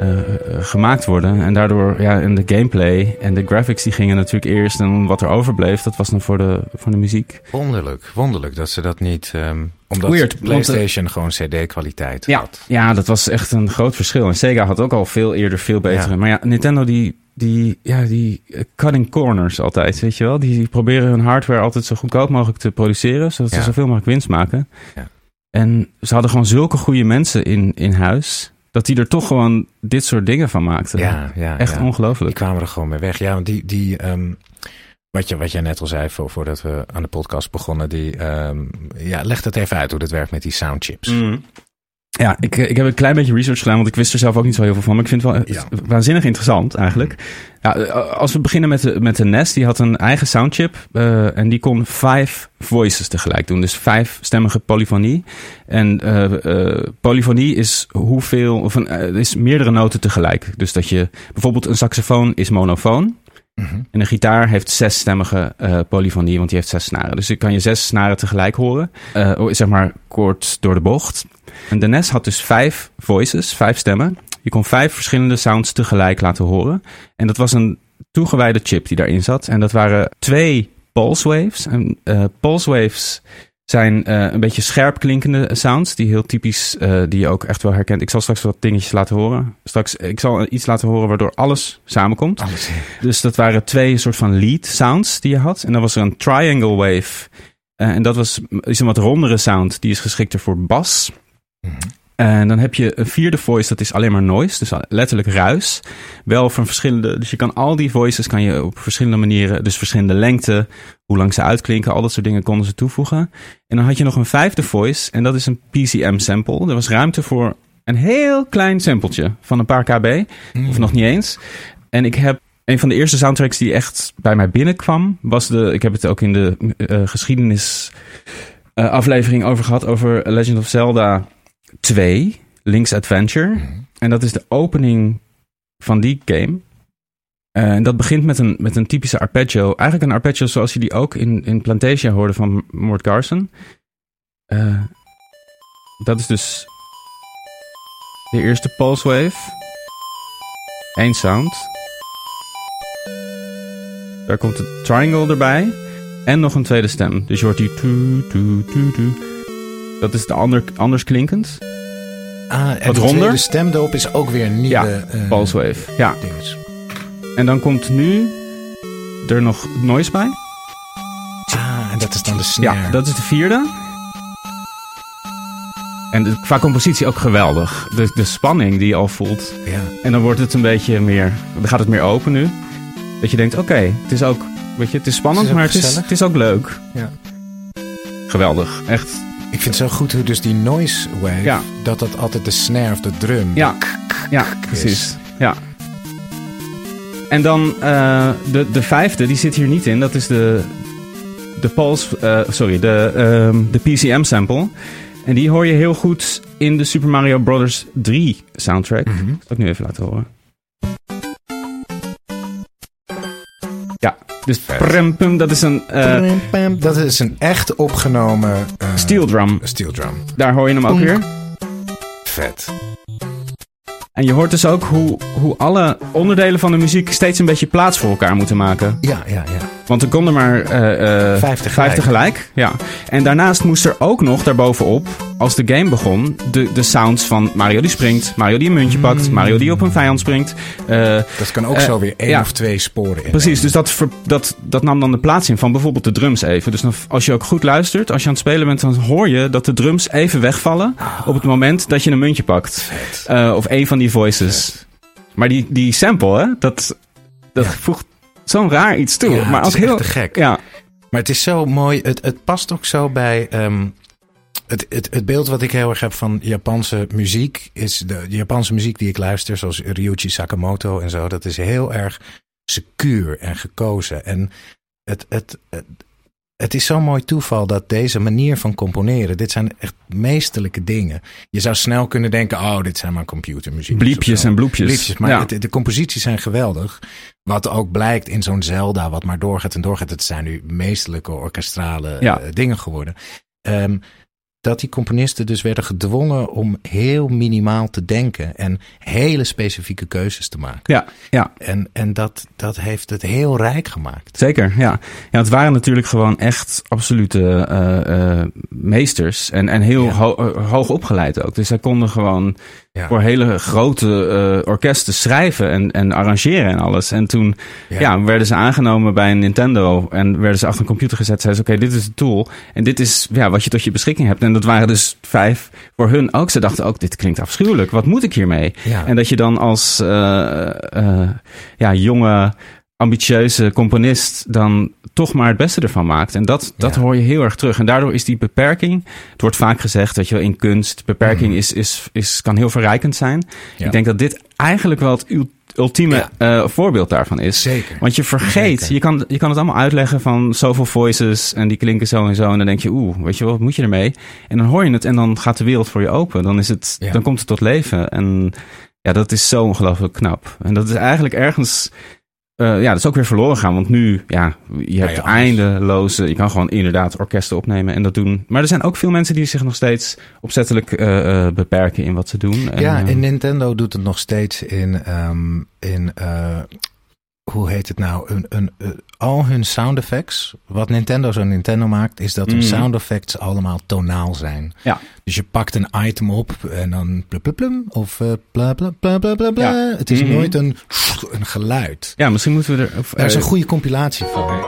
Speaker 1: eh, eh, gemaakt worden. En daardoor, ja, en de gameplay en de graphics die gingen natuurlijk eerst. En wat er overbleef, dat was dan voor de, voor de muziek.
Speaker 2: Wonderlijk, wonderlijk dat ze dat niet... ehm, omdat
Speaker 1: Weird, want, eh,
Speaker 2: PlayStation gewoon cd-kwaliteit had.
Speaker 1: Ja, dat was echt een groot verschil. En Sega had ook al veel eerder veel betere.
Speaker 2: Ja.
Speaker 1: Maar ja, Nintendo die, die, ja, die eh, cutting corners altijd, weet je wel. Die, die proberen hun hardware altijd zo goedkoop mogelijk te produceren, zodat
Speaker 2: Ja.
Speaker 1: ze zoveel mogelijk winst maken.
Speaker 2: Ja.
Speaker 1: En ze hadden gewoon zulke goede mensen in, in huis, dat die er toch gewoon dit soort dingen van maakten.
Speaker 2: ja, ja.
Speaker 1: Echt
Speaker 2: ja. Die
Speaker 1: ongelooflijk.
Speaker 2: kwamen er gewoon mee weg. Ja, want die... die ehm, wat, je, wat jij net al zei voor, voordat we
Speaker 1: Mm.
Speaker 2: aan de podcast begonnen. Die, ehm, ja, leg dat even uit hoe dat werkt met die soundchips.
Speaker 1: Ja, ik, eh, ik heb een klein beetje research gedaan, want ik wist er zelf ook niet zo heel veel van. Maar ik vind het wel
Speaker 2: Ja.
Speaker 1: waanzinnig interessant eigenlijk. Ja, eh, als we beginnen met de, met de Nest, die had een eigen soundchip. eh, en die kon vijf voices tegelijk doen. Dus vijfstemmige polyfonie. En eh, eh, polyfonie is hoeveel, of een, eh, is meerdere noten tegelijk. Dus dat je bijvoorbeeld een saxofoon is monofoon.
Speaker 2: Mhm.
Speaker 1: En een gitaar heeft zesstemmige eh polyfonie, want die heeft zes snaren. Dus je kan je zes snaren tegelijk horen. Eh, oh, zeg maar kort door de bocht. En de NES had dus vijf voices, vijf stemmen. Je kon vijf verschillende sounds tegelijk laten horen. En dat was een toegewijde chip die daarin zat. En dat waren twee pulse waves. En eh, pulse waves zijn eh, een beetje scherp klinkende sounds. Die heel typisch, eh, die je ook echt wel herkent. Ik zal straks wat dingetjes laten horen. Straks, ik zal iets laten horen waardoor alles samenkomt.
Speaker 2: Alles.
Speaker 1: Dus dat waren twee soort van lead sounds die je had. En dan was er een triangle wave. Eh, en dat was, is een wat rondere sound. Die is geschikter voor bas.
Speaker 2: Mhm.
Speaker 1: En dan heb je een vierde voice, dat is alleen maar noise. Dus letterlijk ruis. Wel van verschillende. Dus je kan al die voices kan je op verschillende manieren. Dus verschillende lengte, hoe lang ze uitklinken, al dat soort dingen konden ze toevoegen. En dan had je nog een vijfde voice. En dat is een PCM sample. Er was ruimte voor een heel klein sampletje van een paar kb. Of nog niet eens. En ik heb een van de eerste soundtracks die echt bij mij binnenkwam. Was de, ik heb het ook in de eh, geschiedenis eh, aflevering over gehad. Over Legend of Zelda 2. Link's Adventure.
Speaker 2: Mhm.
Speaker 1: En dat is de opening van die game. Eh, en dat begint met een, met een typische arpeggio. Eigenlijk een arpeggio zoals je die ook in, in Plantasia hoorde van Mort Garson. Eh, dat is dus de eerste pulse wave. Eén sound. Daar komt de triangle erbij. En nog een tweede stem. Dus je hoort die tu, tu, tu, tu. Dat is de ander, anders klinkend.
Speaker 2: Ah, en
Speaker 1: Wat
Speaker 2: de
Speaker 1: ronder?
Speaker 2: tweede stemdoop is ook weer een nieuwe
Speaker 1: Ja,
Speaker 2: eh,
Speaker 1: Pulse wave. Ja.
Speaker 2: dinges.
Speaker 1: En dan komt nu er nog noise bij.
Speaker 2: Ah, en dat is dan de snare.
Speaker 1: Ja, dat is de vierde. En de- qua compositie ook geweldig. De, de spanning die je al voelt.
Speaker 2: Ja.
Speaker 1: En dan wordt het een beetje meer... Dan gaat het meer open nu. Dat je denkt, oké, het is ook... Weet je, het is spannend,
Speaker 2: Het is ook
Speaker 1: maar het is,
Speaker 2: gezellig.
Speaker 1: het is ook leuk.
Speaker 2: Ja.
Speaker 1: Geweldig. Echt.
Speaker 2: Ik vind het zo goed hoe dus die noise wave,
Speaker 1: Ja.
Speaker 2: dat dat altijd de snare of de drum.
Speaker 1: Ja, ja precies. Ja. En dan eh, de, de vijfde, die zit hier niet in. Dat is de, de Pulse, eh, sorry, de, ehm, de PCM sample. En die hoor je heel goed in de Super Mario Bros. 3 soundtrack. Dat
Speaker 2: Mhm.
Speaker 1: ik nu even laten horen. Ja, dus prem, pum, dat is een eh,
Speaker 2: Pam, pam. Dat is een echt opgenomen eh,
Speaker 1: steel drum.
Speaker 2: steel drum.
Speaker 1: Daar hoor je hem ook
Speaker 2: Bonk.
Speaker 1: weer.
Speaker 2: Vet.
Speaker 1: En je hoort dus ook hoe, hoe alle onderdelen van de muziek steeds een beetje plaats voor elkaar moeten maken.
Speaker 2: Ja, ja, ja.
Speaker 1: Want er konden maar eh eh
Speaker 2: Vijf tegelijk.
Speaker 1: 50 gelijk. Ja. En daarnaast moest er ook nog daarbovenop, als de game begon, de, de sounds van Mario die springt, Mario die een muntje pakt,
Speaker 2: Mm.
Speaker 1: Mario die op een vijand springt. Eh,
Speaker 2: Dat kan ook
Speaker 1: Eh,
Speaker 2: zo weer één
Speaker 1: ja.
Speaker 2: of twee sporen in.
Speaker 1: precies, dus dat, ver- dat, dat nam dan de plaats in van bijvoorbeeld de drums even. Dus dan, als je ook goed luistert, als je aan het spelen bent, dan hoor je dat de drums even wegvallen op het moment dat je een muntje pakt.
Speaker 2: Ah. Vet.
Speaker 1: Eh, of één van die voices.
Speaker 2: Vet.
Speaker 1: Maar die, die sample, hè, dat, dat
Speaker 2: Ja.
Speaker 1: voegt zo'n raar iets toe.
Speaker 2: Ja,
Speaker 1: maar
Speaker 2: het
Speaker 1: als
Speaker 2: is echt
Speaker 1: heel.
Speaker 2: te gek.
Speaker 1: Ja,
Speaker 2: Maar het is zo mooi. Het, het past ook zo bij. ehm, het, het, het beeld wat ik heel erg heb van Japanse muziek. Is de, de Japanse muziek die ik luister, zoals Ryuichi Sakamoto en zo. Dat is heel erg secuur en gekozen. En het, het, het, het is zo'n mooi toeval dat deze manier van componeren. Dit zijn echt meesterlijke dingen. Je zou snel kunnen denken: oh, dit zijn maar computermuziek. of
Speaker 1: bliepjes
Speaker 2: zo.
Speaker 1: en bloepjes.
Speaker 2: Liedjes, maar
Speaker 1: ja.
Speaker 2: het- de composities zijn geweldig. Wat ook blijkt in zo'n Zelda, wat maar doorgaat en doorgaat. Het zijn nu meestelijke orkestrale
Speaker 1: Ja.
Speaker 2: eh, dingen geworden. Ehm, dat die componisten dus werden gedwongen om heel minimaal te denken. En hele specifieke keuzes te maken.
Speaker 1: Ja, ja,
Speaker 2: En, en dat, dat heeft het heel rijk gemaakt.
Speaker 1: zeker. Ja. ja, het waren natuurlijk gewoon echt absolute eh, eh, meesters. En, en heel
Speaker 2: Ja.
Speaker 1: ho- eh, hoog opgeleid ook. Dus zij konden gewoon
Speaker 2: Ja.
Speaker 1: voor hele grote eh, orkesten schrijven en, en arrangeren en alles. En toen ja. werden ze aangenomen bij een Nintendo en werden ze achter een computer gezet. Zeiden ze, oké, dit is het tool. En dit is ja, wat je tot je beschikking hebt. En dat waren dus vijf voor hun ook. Ze dachten ook, dit klinkt afschuwelijk. Wat moet ik hiermee?
Speaker 2: Ja.
Speaker 1: En dat je dan als eh, eh, ja, jonge ambitieuze componist dan toch maar het beste ervan maakt. En dat, dat
Speaker 2: Ja.
Speaker 1: hoor je heel erg terug. En daardoor is die beperking, het wordt vaak gezegd, weet je wel, in kunst, beperking is, is, is, kan heel verrijkend zijn.
Speaker 2: Mm. Ja.
Speaker 1: Ik denk dat dit eigenlijk wel het ul- ultieme eh, voorbeeld daarvan is.
Speaker 2: Zeker.
Speaker 1: Want je vergeet,
Speaker 2: Zeker.
Speaker 1: je kan, je kan het allemaal uitleggen van zoveel voices en die klinken zo en zo. En dan denk je, oeh, weet je wel, wat moet je ermee? En dan hoor je het en dan gaat de wereld voor je open. Dan, is het,
Speaker 2: Ja.
Speaker 1: dan komt het tot leven. En ja, dat is zo ongelooflijk knap. En dat is eigenlijk ergens, eh, ja, dat is ook weer verloren gaan. Want nu, ja, je hebt
Speaker 2: ja, alles.
Speaker 1: eindeloze, je kan gewoon inderdaad orkesten opnemen en dat doen. Maar er zijn ook veel mensen die zich nog steeds opzettelijk eh, eh, beperken in wat ze doen. En,
Speaker 2: Ja,
Speaker 1: eh,
Speaker 2: en Nintendo doet het nog steeds in, ehm, in eh, hoe heet het nou? Een, een, eh, al hun sound effects. Wat Nintendo zo Nintendo maakt, is dat hun
Speaker 1: Mm.
Speaker 2: sound effects allemaal tonaal zijn.
Speaker 1: Ja.
Speaker 2: Dus je pakt een item op en dan plum, plum, plum, of eh, bla bla bla bla bla. bla.
Speaker 1: Ja.
Speaker 2: Het is
Speaker 1: Mhm.
Speaker 2: nooit een, een geluid.
Speaker 1: ja, misschien moeten we er... of,
Speaker 2: Daar is
Speaker 1: eh,
Speaker 2: een goede compilatie van.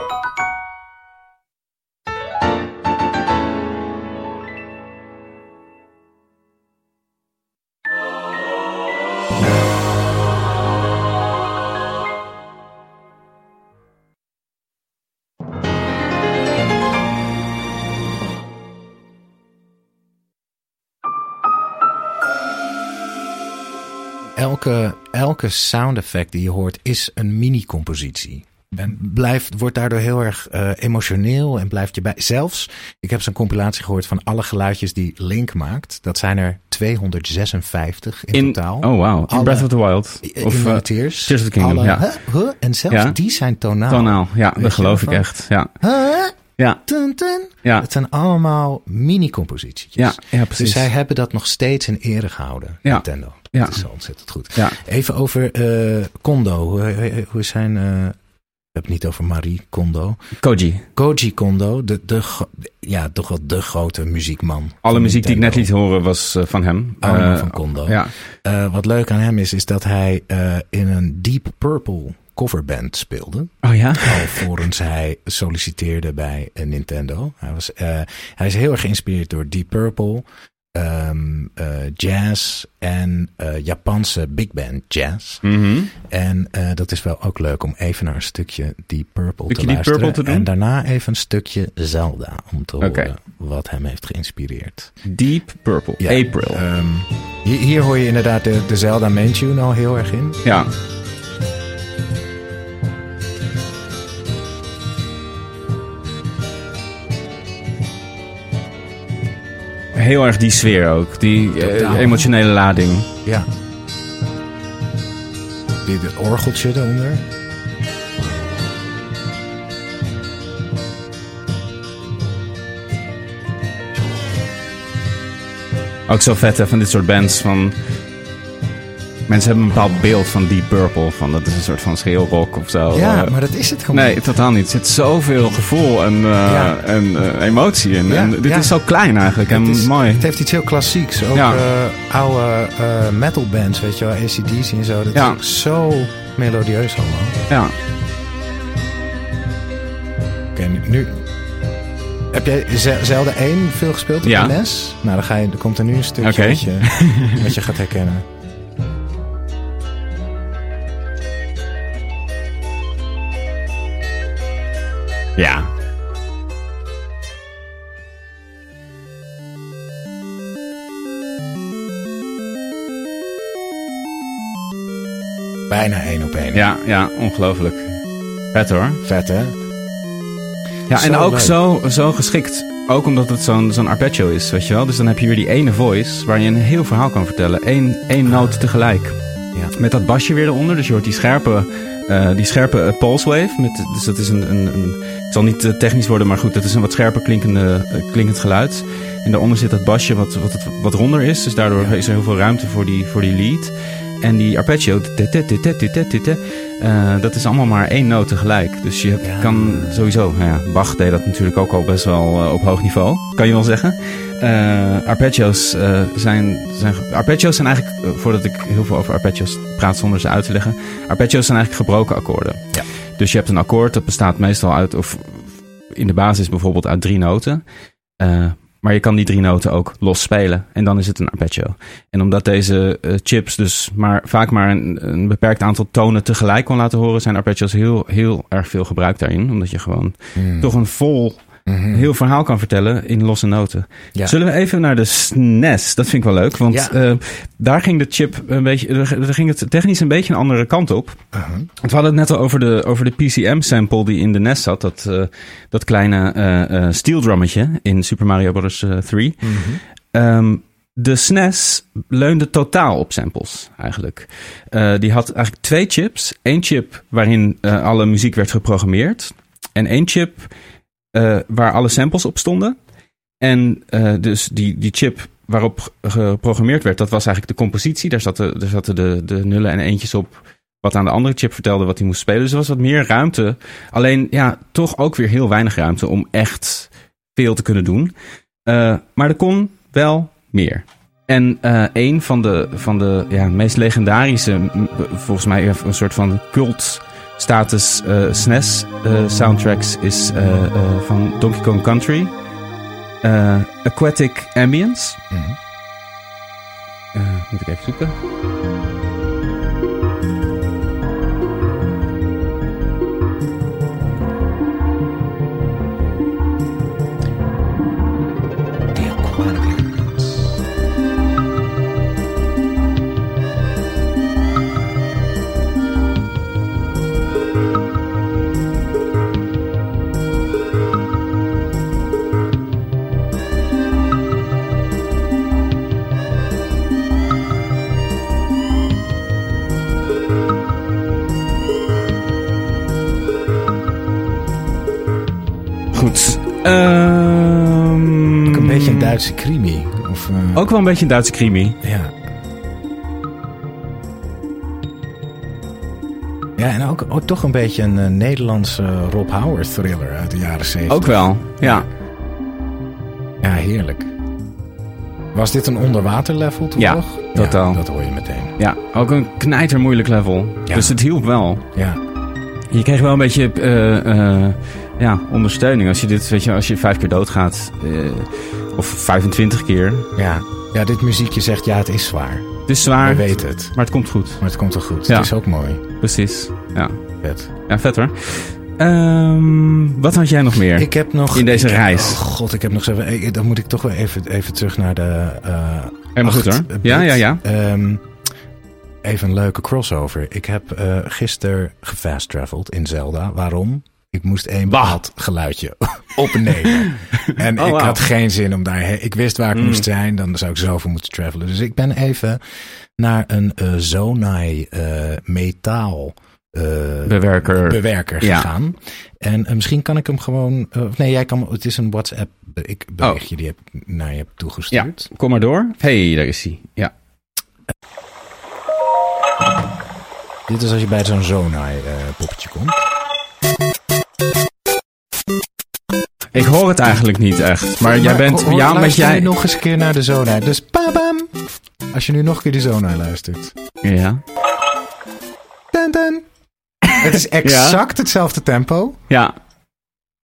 Speaker 2: Elke, elke sound effect die je hoort is een mini-compositie. En blijft, wordt daardoor heel erg eh, emotioneel en blijft je bij. Zelfs, ik heb zo'n compilatie gehoord van alle geluidjes die Link maakt. Dat zijn er 256 in, totaal.
Speaker 1: Oh, wauw. In
Speaker 2: Alle-
Speaker 1: Breath of the Wild.
Speaker 2: In
Speaker 1: Of, eh,
Speaker 2: de Tears.
Speaker 1: Tears of the Kingdom, ja.
Speaker 2: huh, huh, en zelfs
Speaker 1: Ja.
Speaker 2: die zijn tonaal.
Speaker 1: Tonaal, ja,
Speaker 2: Ah, je
Speaker 1: dat geloof ik
Speaker 2: ervan?
Speaker 1: echt. Ja,
Speaker 2: Huh?
Speaker 1: ja,
Speaker 2: Tun, tun.
Speaker 1: ja,
Speaker 2: Het zijn allemaal mini-compositietjes.
Speaker 1: ja, ja
Speaker 2: Dus
Speaker 1: precies.
Speaker 2: zij hebben dat nog steeds in ere gehouden,
Speaker 1: Ja.
Speaker 2: Nintendo.
Speaker 1: Ja.
Speaker 2: Dat is zo ontzettend goed.
Speaker 1: Ja.
Speaker 2: Even over eh Kondo. Hoe, hoe- hoe is zijn... eh, ik heb het niet over Marie Kondo.
Speaker 1: Koji,
Speaker 2: Koji Kondo, de, de, gro- ja, toch wel de grote muziekman.
Speaker 1: alle
Speaker 2: van
Speaker 1: muziek die ik net
Speaker 2: Nintendo.
Speaker 1: liet horen was eh, van hem.
Speaker 2: Allemaal
Speaker 1: Eh,
Speaker 2: Oh, van Kondo.
Speaker 1: Ja,
Speaker 2: Eh, wat leuk aan hem is, is dat hij eh, in een Deep Purple coverband speelde.
Speaker 1: oh ja?
Speaker 2: Alvorens hij solliciteerde bij eh, Nintendo. Hij, was, eh, hij is heel erg geïnspireerd door Deep Purple, ehm, eh, jazz en eh, Japanse big band jazz.
Speaker 1: Mhm.
Speaker 2: En eh, dat is wel ook leuk om even naar een stukje Deep Purple
Speaker 1: Stukje
Speaker 2: te
Speaker 1: Deep
Speaker 2: luisteren.
Speaker 1: Purple te doen?
Speaker 2: En daarna even een stukje Zelda om te
Speaker 1: Oké.
Speaker 2: horen wat hem heeft geïnspireerd.
Speaker 1: Deep Purple,
Speaker 2: Ja,
Speaker 1: April.
Speaker 2: ehm, hier, hier hoor je inderdaad de, de Zelda main tune al heel erg in.
Speaker 1: ja. Heel erg die sfeer ook, die eh,
Speaker 2: Totaal.
Speaker 1: emotionele lading.
Speaker 2: Ja. Dit het orgeltje eronder.
Speaker 1: Ook zo vet hè, van dit soort bands van... Mensen hebben een bepaald beeld van Deep Purple. Van dat is een soort van schreeuwrock of zo.
Speaker 2: ja,
Speaker 1: Eh,
Speaker 2: maar dat is het gewoon.
Speaker 1: Nee, totaal niet. Er zit zoveel gevoel en, eh,
Speaker 2: Ja.
Speaker 1: en eh, emotie in.
Speaker 2: Ja,
Speaker 1: en dit
Speaker 2: ja.
Speaker 1: is zo klein eigenlijk en
Speaker 2: het, is,
Speaker 1: mooi.
Speaker 2: het heeft iets heel klassieks. Ook
Speaker 1: Ja.
Speaker 2: eh, oude eh metal bands, weet je wel, ACDC en zo. Dat
Speaker 1: Ja.
Speaker 2: is zo melodieus allemaal.
Speaker 1: Ja.
Speaker 2: Oké, nu, nu- Heb jij Ze- Zelda 1 veel gespeeld op
Speaker 1: Ja.
Speaker 2: de NES? Nou, dan, ga je, dan komt er nu een stukje
Speaker 1: Oké.
Speaker 2: wat, je, wat je gaat herkennen.
Speaker 1: ja.
Speaker 2: Bijna één op één.
Speaker 1: Ja, ja, ongelooflijk. Vet hoor.
Speaker 2: Vet, hè?
Speaker 1: Ja, en
Speaker 2: Zo
Speaker 1: ook
Speaker 2: leuk.
Speaker 1: zo, zo geschikt. Ook omdat het zo'n zo'n arpeggio is, weet je wel. Dus dan heb je weer die ene voice waar je een heel verhaal kan vertellen. Eén, één noot tegelijk.
Speaker 2: Ja.
Speaker 1: Met dat basje weer eronder. Dus je hoort die scherpe, eh, die scherpe eh, pulse wave. Met, dus dat is een, een, een... Het zal niet eh, technisch worden, maar goed. Dat is een wat scherper klinkende, eh, klinkend geluid. En daaronder zit dat basje wat, wat, het, wat ronder is. Dus daardoor
Speaker 2: Ja.
Speaker 1: is er heel veel ruimte voor die, voor die lead. En die arpeggio... tit, tit, tit, tit, tit, tit, tit, eh, dat is allemaal maar één noot tegelijk. Dus je hebt-
Speaker 2: Ja.
Speaker 1: kan sowieso... Nou ja, Bach deed dat natuurlijk ook al best wel eh, op hoog niveau. Kan je wel zeggen. Eh, arpeggios, eh, zijn, zijn... Arpeggios zijn eigenlijk... eh, voordat ik heel veel over arpeggios praat zonder ze uit te leggen. Arpeggios zijn eigenlijk gebroken akkoorden.
Speaker 2: Ja.
Speaker 1: Dus je hebt een akkoord dat bestaat meestal uit... Of in de basis bijvoorbeeld uit drie noten. Eh, Maar je kan die drie noten ook los spelen. En dan is het een arpeggio. En omdat deze eh, chips dus maar, vaak maar een, een beperkt aantal tonen tegelijk kon laten horen, zijn arpeggio's heel, heel erg veel gebruikt daarin. Omdat je gewoon
Speaker 2: Mm.
Speaker 1: toch een vol,
Speaker 2: Mhm.
Speaker 1: heel verhaal kan vertellen in losse noten.
Speaker 2: Ja.
Speaker 1: Zullen we even naar de SNES? Dat vind ik wel leuk. Want
Speaker 2: Ja.
Speaker 1: eh, daar ging de chip een beetje, daar daar ging het technisch een beetje een andere kant op.
Speaker 2: Aha.
Speaker 1: Want we hadden het net al over de, over de PCM-sample die in de NES zat. Dat, eh, dat kleine eh eh steeldrummetje in Super Mario Bros. eh, 3.
Speaker 2: Mhm.
Speaker 1: Ehm, de SNES leunde totaal op samples, eigenlijk. Eh, die had eigenlijk twee chips. Eén chip waarin eh, alle muziek werd geprogrammeerd. En één chip eh, waar alle samples op stonden. En eh, dus die, die chip waarop geprogrammeerd werd, dat was eigenlijk de compositie. Daar zaten, daar zaten de, de nullen en eentjes op. Wat aan de andere chip vertelde wat hij moest spelen. Dus er was wat meer ruimte. Alleen ja, toch ook weer heel weinig ruimte om echt veel te kunnen doen. Eh, maar er kon wel meer. En eh, een van de, van de ja, meest legendarische, m- volgens mij een soort van cult status eh, SNES eh, soundtracks is eh, eh, van Donkey Kong Country. Eh, Aquatic Ambience.
Speaker 2: Mhm.
Speaker 1: Eh, moet ik even zoeken. Goed. Ehm,
Speaker 2: Ook een beetje een Duitse krimi. Of, eh,
Speaker 1: Ook wel een beetje een Duitse krimi.
Speaker 2: Ja. Ja, en ook, ook toch een beetje een eh, Nederlandse Rob Howard thriller uit de jaren 70.
Speaker 1: Ook wel, ja.
Speaker 2: Ja, heerlijk. Was dit een onderwaterlevel toch?
Speaker 1: Ja, totaal.
Speaker 2: dat hoor je meteen.
Speaker 1: Ja, ook een knijtermoeilijk level.
Speaker 2: Ja.
Speaker 1: Dus het hielp wel.
Speaker 2: Ja,
Speaker 1: Je kreeg wel een beetje eh, eh, ja, ondersteuning. Als je, dit, weet je, als je vijf keer doodgaat, eh, of 25 keer.
Speaker 2: ja. ja, dit muziekje zegt ja, het is zwaar.
Speaker 1: Het is
Speaker 2: We
Speaker 1: zwaar,
Speaker 2: weten het,
Speaker 1: maar het komt goed.
Speaker 2: maar het komt toch goed.
Speaker 1: Ja.
Speaker 2: Het is ook mooi.
Speaker 1: Precies. Ja,
Speaker 2: Vet.
Speaker 1: ja vet hoor. Ehm, wat had jij nog meer?
Speaker 2: Ik heb nog...
Speaker 1: In deze
Speaker 2: ik-
Speaker 1: reis.
Speaker 2: Oh god, ik heb nog zo... eh, Dan moet ik toch wel even, even terug naar de... eh,
Speaker 1: Helemaal goed
Speaker 2: acht
Speaker 1: hoor.
Speaker 2: bit.
Speaker 1: Ja, ja, ja.
Speaker 2: Ehm, even een leuke crossover. Ik heb eh gisteren gefast traveled in Zelda. Waarom? Ik moest een bepaald geluidje opnemen. en
Speaker 1: Oh,
Speaker 2: ik
Speaker 1: wauw.
Speaker 2: had geen zin om daar... Ik wist waar ik
Speaker 1: Mm.
Speaker 2: moest zijn. Dan zou ik zoveel moeten travelen. Dus ik ben even naar een eh Zonai eh, metaal... eh,
Speaker 1: Bewerker.
Speaker 2: bewerker
Speaker 1: Ja.
Speaker 2: gegaan. En eh, misschien kan ik hem gewoon... eh, of nee, jij kan, het is een WhatsApp be- ik
Speaker 1: Oh.
Speaker 2: berichtje die heb, naar je hebt toegestuurd.
Speaker 1: Kom maar door. hey, daar is hij. Ja.
Speaker 2: Dit is als je bij zo'n Zonai eh, poppetje komt.
Speaker 1: Ik hoor het eigenlijk niet echt. Maar jij bent...
Speaker 2: ho- ho-
Speaker 1: ja, maar
Speaker 2: luister nu
Speaker 1: jij...
Speaker 2: nog eens een keer naar de Zonai. Dus babam. Als je nu nog een keer de Zonai luistert.
Speaker 1: Ja.
Speaker 2: Dan, dan. Het is exact hetzelfde tempo.
Speaker 1: Ja.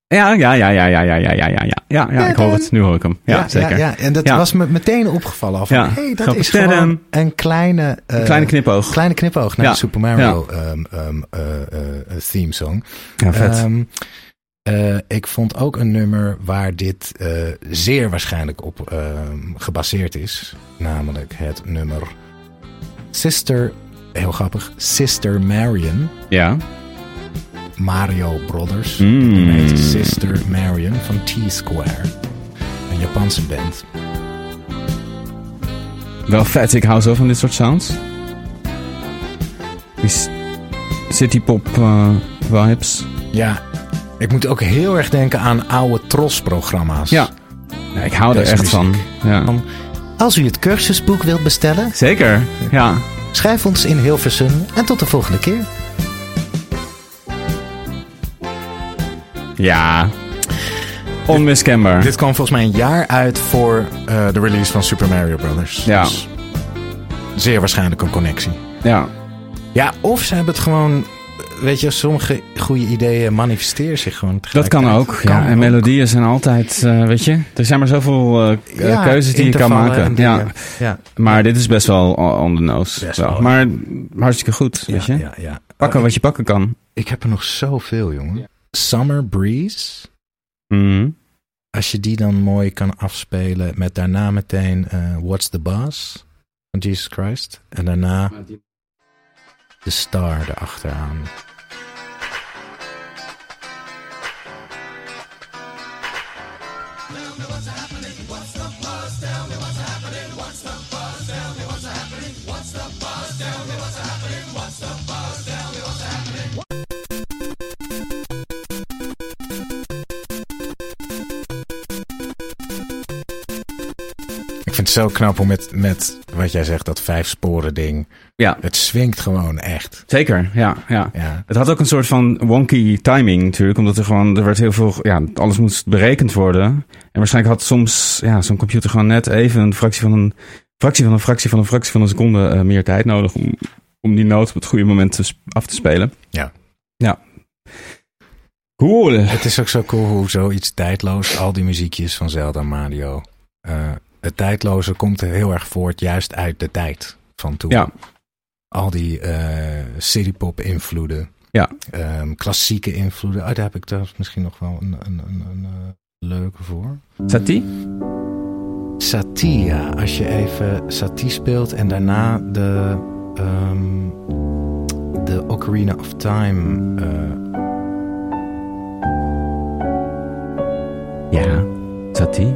Speaker 1: Ja, ja, ja, ja, ja, ja, ja, ja, ja, ja. Ja, ja, ik hoor het. Nu hoor ik hem. Ja, zeker.
Speaker 2: Ja, En dat
Speaker 1: Ja.
Speaker 2: was me meteen opgevallen. Al van,
Speaker 1: Ja,
Speaker 2: hey, dat
Speaker 1: grappig.
Speaker 2: is gewoon
Speaker 1: Tadam.
Speaker 2: een kleine, eh,
Speaker 1: Een kleine knipoog.
Speaker 2: kleine knipoog naar
Speaker 1: Ja,
Speaker 2: de Super Mario ehm, ehm, eh, eh, eh, theme song.
Speaker 1: Ja,
Speaker 2: Ehm, eh, ik vond ook een nummer waar dit eh, zeer waarschijnlijk op ehm, gebaseerd is. Namelijk het nummer Sister, heel grappig, Sister Marion.
Speaker 1: ja.
Speaker 2: Mario Brothers.
Speaker 1: Mm.
Speaker 2: Het heet Sister Marion van T-Square. Een Japanse band.
Speaker 1: Wel vet, ik hou zo van dit soort sounds. Die s- citypop eh, vibes.
Speaker 2: Ja, ik moet ook heel erg denken aan oude Tros-programma's.
Speaker 1: Ja. Ja, ik hou er
Speaker 2: Deze
Speaker 1: echt van. Ja.
Speaker 2: Als u het cursusboek wilt bestellen,
Speaker 1: Zeker, ja.
Speaker 2: schrijf ons in Hilversum en tot de volgende keer.
Speaker 1: Ja. Onmiskenbaar.
Speaker 2: Dit kwam volgens mij een jaar uit voor eh, de release van Super Mario Brothers.
Speaker 1: Ja.
Speaker 2: Dus zeer waarschijnlijk een connectie.
Speaker 1: Ja.
Speaker 2: Ja, of ze hebben het gewoon eh, weet je, sommige goede ideeën manifesteren zich gewoon
Speaker 1: Dat kan
Speaker 2: tegelijkertijd.
Speaker 1: ook.
Speaker 2: Kan
Speaker 1: ja. En
Speaker 2: ook.
Speaker 1: melodieën zijn altijd, eh, weet je, er zijn maar zoveel eh, k-
Speaker 2: Ja,
Speaker 1: keuzes die je kan
Speaker 2: intervallen en
Speaker 1: maken.
Speaker 2: dingen.
Speaker 1: Ja.
Speaker 2: Ja.
Speaker 1: Maar dit is best wel o- on the nose.
Speaker 2: Best
Speaker 1: wel.
Speaker 2: wel.
Speaker 1: Maar hartstikke goed, weet je.
Speaker 2: Ja, ja, ja.
Speaker 1: Pakken
Speaker 2: Oh,
Speaker 1: wat je pakken kan.
Speaker 2: Ik heb er nog zoveel, jongen.
Speaker 1: Ja.
Speaker 2: Summer Breeze.
Speaker 1: Mhm.
Speaker 2: Als je die dan mooi kan afspelen met daarna meteen eh, What's the Boss van Jesus Christ. En daarna de Star erachteraan. Ik vind het zo knap hoe met, met wat jij zegt, dat vijf sporen ding.
Speaker 1: Ja,
Speaker 2: Het swingt gewoon echt.
Speaker 1: zeker. Ja, ja.
Speaker 2: Ja.
Speaker 1: Het had ook een soort van wonky timing natuurlijk, omdat er gewoon, er werd heel veel, ja, alles moest berekend worden. En waarschijnlijk had soms, ja, zo'n computer gewoon net even een fractie van een fractie van een fractie van een fractie van een seconde eh, meer tijd nodig om, om die noot op het goede moment te sp- af te spelen.
Speaker 2: Ja.
Speaker 1: Ja. Cool.
Speaker 2: Het is ook zo cool hoe zoiets tijdloos, al die muziekjes van Zelda en Mario. eh, het tijdloze komt er heel erg voort, juist uit de tijd van toen.
Speaker 1: Ja.
Speaker 2: Al die eh citypop invloeden.
Speaker 1: Ja.
Speaker 2: Ehm, klassieke invloeden. Oh, daar heb ik trouwens misschien nog wel een, een, een, een eh, leuke voor.
Speaker 1: Zat die?
Speaker 2: Satie, ja. Als je even Satie speelt en daarna de, ehm, de Ocarina of Time. eh,
Speaker 1: Ja. Zat die?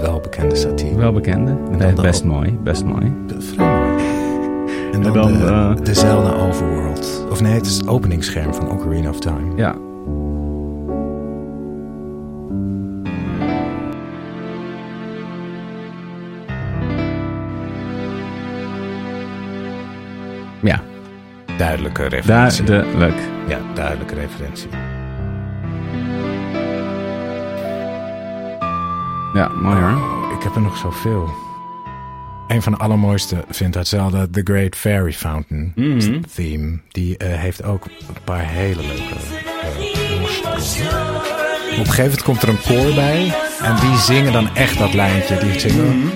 Speaker 2: welbekende eh, Satie.
Speaker 1: Wel bekende. Eh,
Speaker 2: dan de-
Speaker 1: best mooi, best mooi.
Speaker 2: En dan,
Speaker 1: En dan,
Speaker 2: de,
Speaker 1: eh,
Speaker 2: de Zelda Overworld. Of nee, het is het openingsscherm van Ocarina of Time.
Speaker 1: Ja. Ja,
Speaker 2: Duidelijke
Speaker 1: daar
Speaker 2: referentie.
Speaker 1: de Oh, leuk.
Speaker 2: Ja, duidelijke referentie.
Speaker 1: Ja, mooi hoor.
Speaker 2: Oh, Ik heb er nog zoveel. Een van de allermooiste vindt uit Zelda The Great Fairy Fountain
Speaker 1: Mhm.
Speaker 2: theme. Die eh, heeft ook een paar hele leuke eh, nummers. Op een gegeven moment komt er een koor bij. En die zingen dan echt dat lijntje. Die zingen...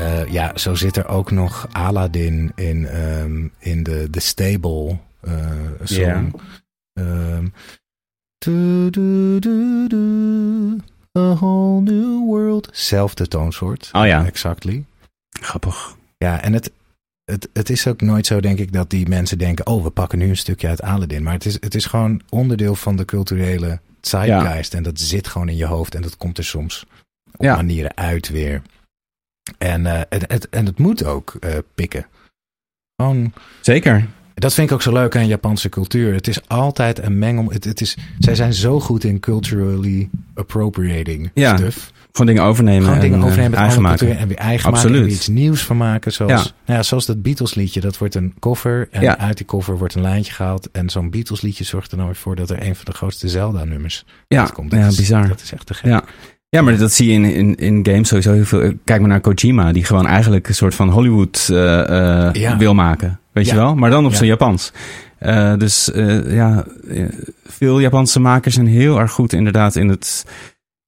Speaker 2: Eh, ja, zo zit er ook nog Aladdin in, ehm, in de, de stable eh song.
Speaker 1: Ja.
Speaker 2: Ehm, "Do, do, do, do, a whole new world. Zelfde toonsoort.
Speaker 1: Oh ja,
Speaker 2: Exactly.
Speaker 1: grappig.
Speaker 2: Ja, en het, het, het is ook nooit zo, denk ik, dat die mensen denken... oh, we pakken nu een stukje uit Aladdin. Maar het is, het is gewoon onderdeel van de culturele zeitgeist. En dat zit gewoon in je hoofd. En dat komt er soms op
Speaker 1: Ja.
Speaker 2: manieren uit weer. En, eh, het, het, en het moet ook eh, pikken. Gewoon,
Speaker 1: Zeker.
Speaker 2: dat vind ik ook zo leuk aan Japanse cultuur. Het is altijd een mengel. Het, het is, zij zijn zo goed in culturally appropriating
Speaker 1: Ja.
Speaker 2: stuff.
Speaker 1: Gewoon dingen overnemen.
Speaker 2: Gewoon
Speaker 1: en,
Speaker 2: dingen
Speaker 1: eh,
Speaker 2: overnemen met
Speaker 1: eigen
Speaker 2: andere
Speaker 1: maken.
Speaker 2: cultuur en weer eigen maken.
Speaker 1: Absoluut.
Speaker 2: En weer iets nieuws van maken. Zoals,
Speaker 1: Ja.
Speaker 2: Nou ja, zoals dat Beatles liedje. Dat wordt een cover. En
Speaker 1: Ja.
Speaker 2: uit die cover wordt een lijntje gehaald. En zo'n Beatles liedje zorgt er nou weer voor dat er een van de grootste Zelda nummers
Speaker 1: Ja,
Speaker 2: uitkomt. Dat
Speaker 1: ja
Speaker 2: is-
Speaker 1: bizar.
Speaker 2: Dat is echt te gek.
Speaker 1: Ja. ja, maar dat zie je in, in, in games sowieso heel veel. Kijk maar naar Kojima, die gewoon eigenlijk een soort van Hollywood eh, eh,
Speaker 2: Ja.
Speaker 1: wil maken. Weet
Speaker 2: Ja.
Speaker 1: je wel? Maar dan op
Speaker 2: Ja.
Speaker 1: zijn Japans. Eh, dus eh, ja, eh, veel Japanse makers zijn heel erg goed inderdaad in het,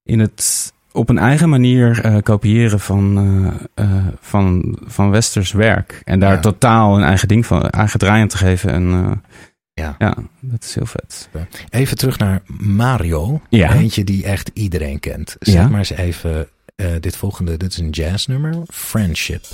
Speaker 1: in het op een eigen manier eh, kopiëren van, eh, eh, van, van Westers werk. En daar
Speaker 2: Ja.
Speaker 1: totaal een eigen ding van, eigen draai aan te geven. En eh,
Speaker 2: Ja.
Speaker 1: ja, dat is heel vet.
Speaker 2: Even terug naar Mario.
Speaker 1: Ja.
Speaker 2: Eentje die echt iedereen kent. Zeg
Speaker 1: Ja.
Speaker 2: maar eens even eh, dit volgende. Dit is een jazznummer. Friendship.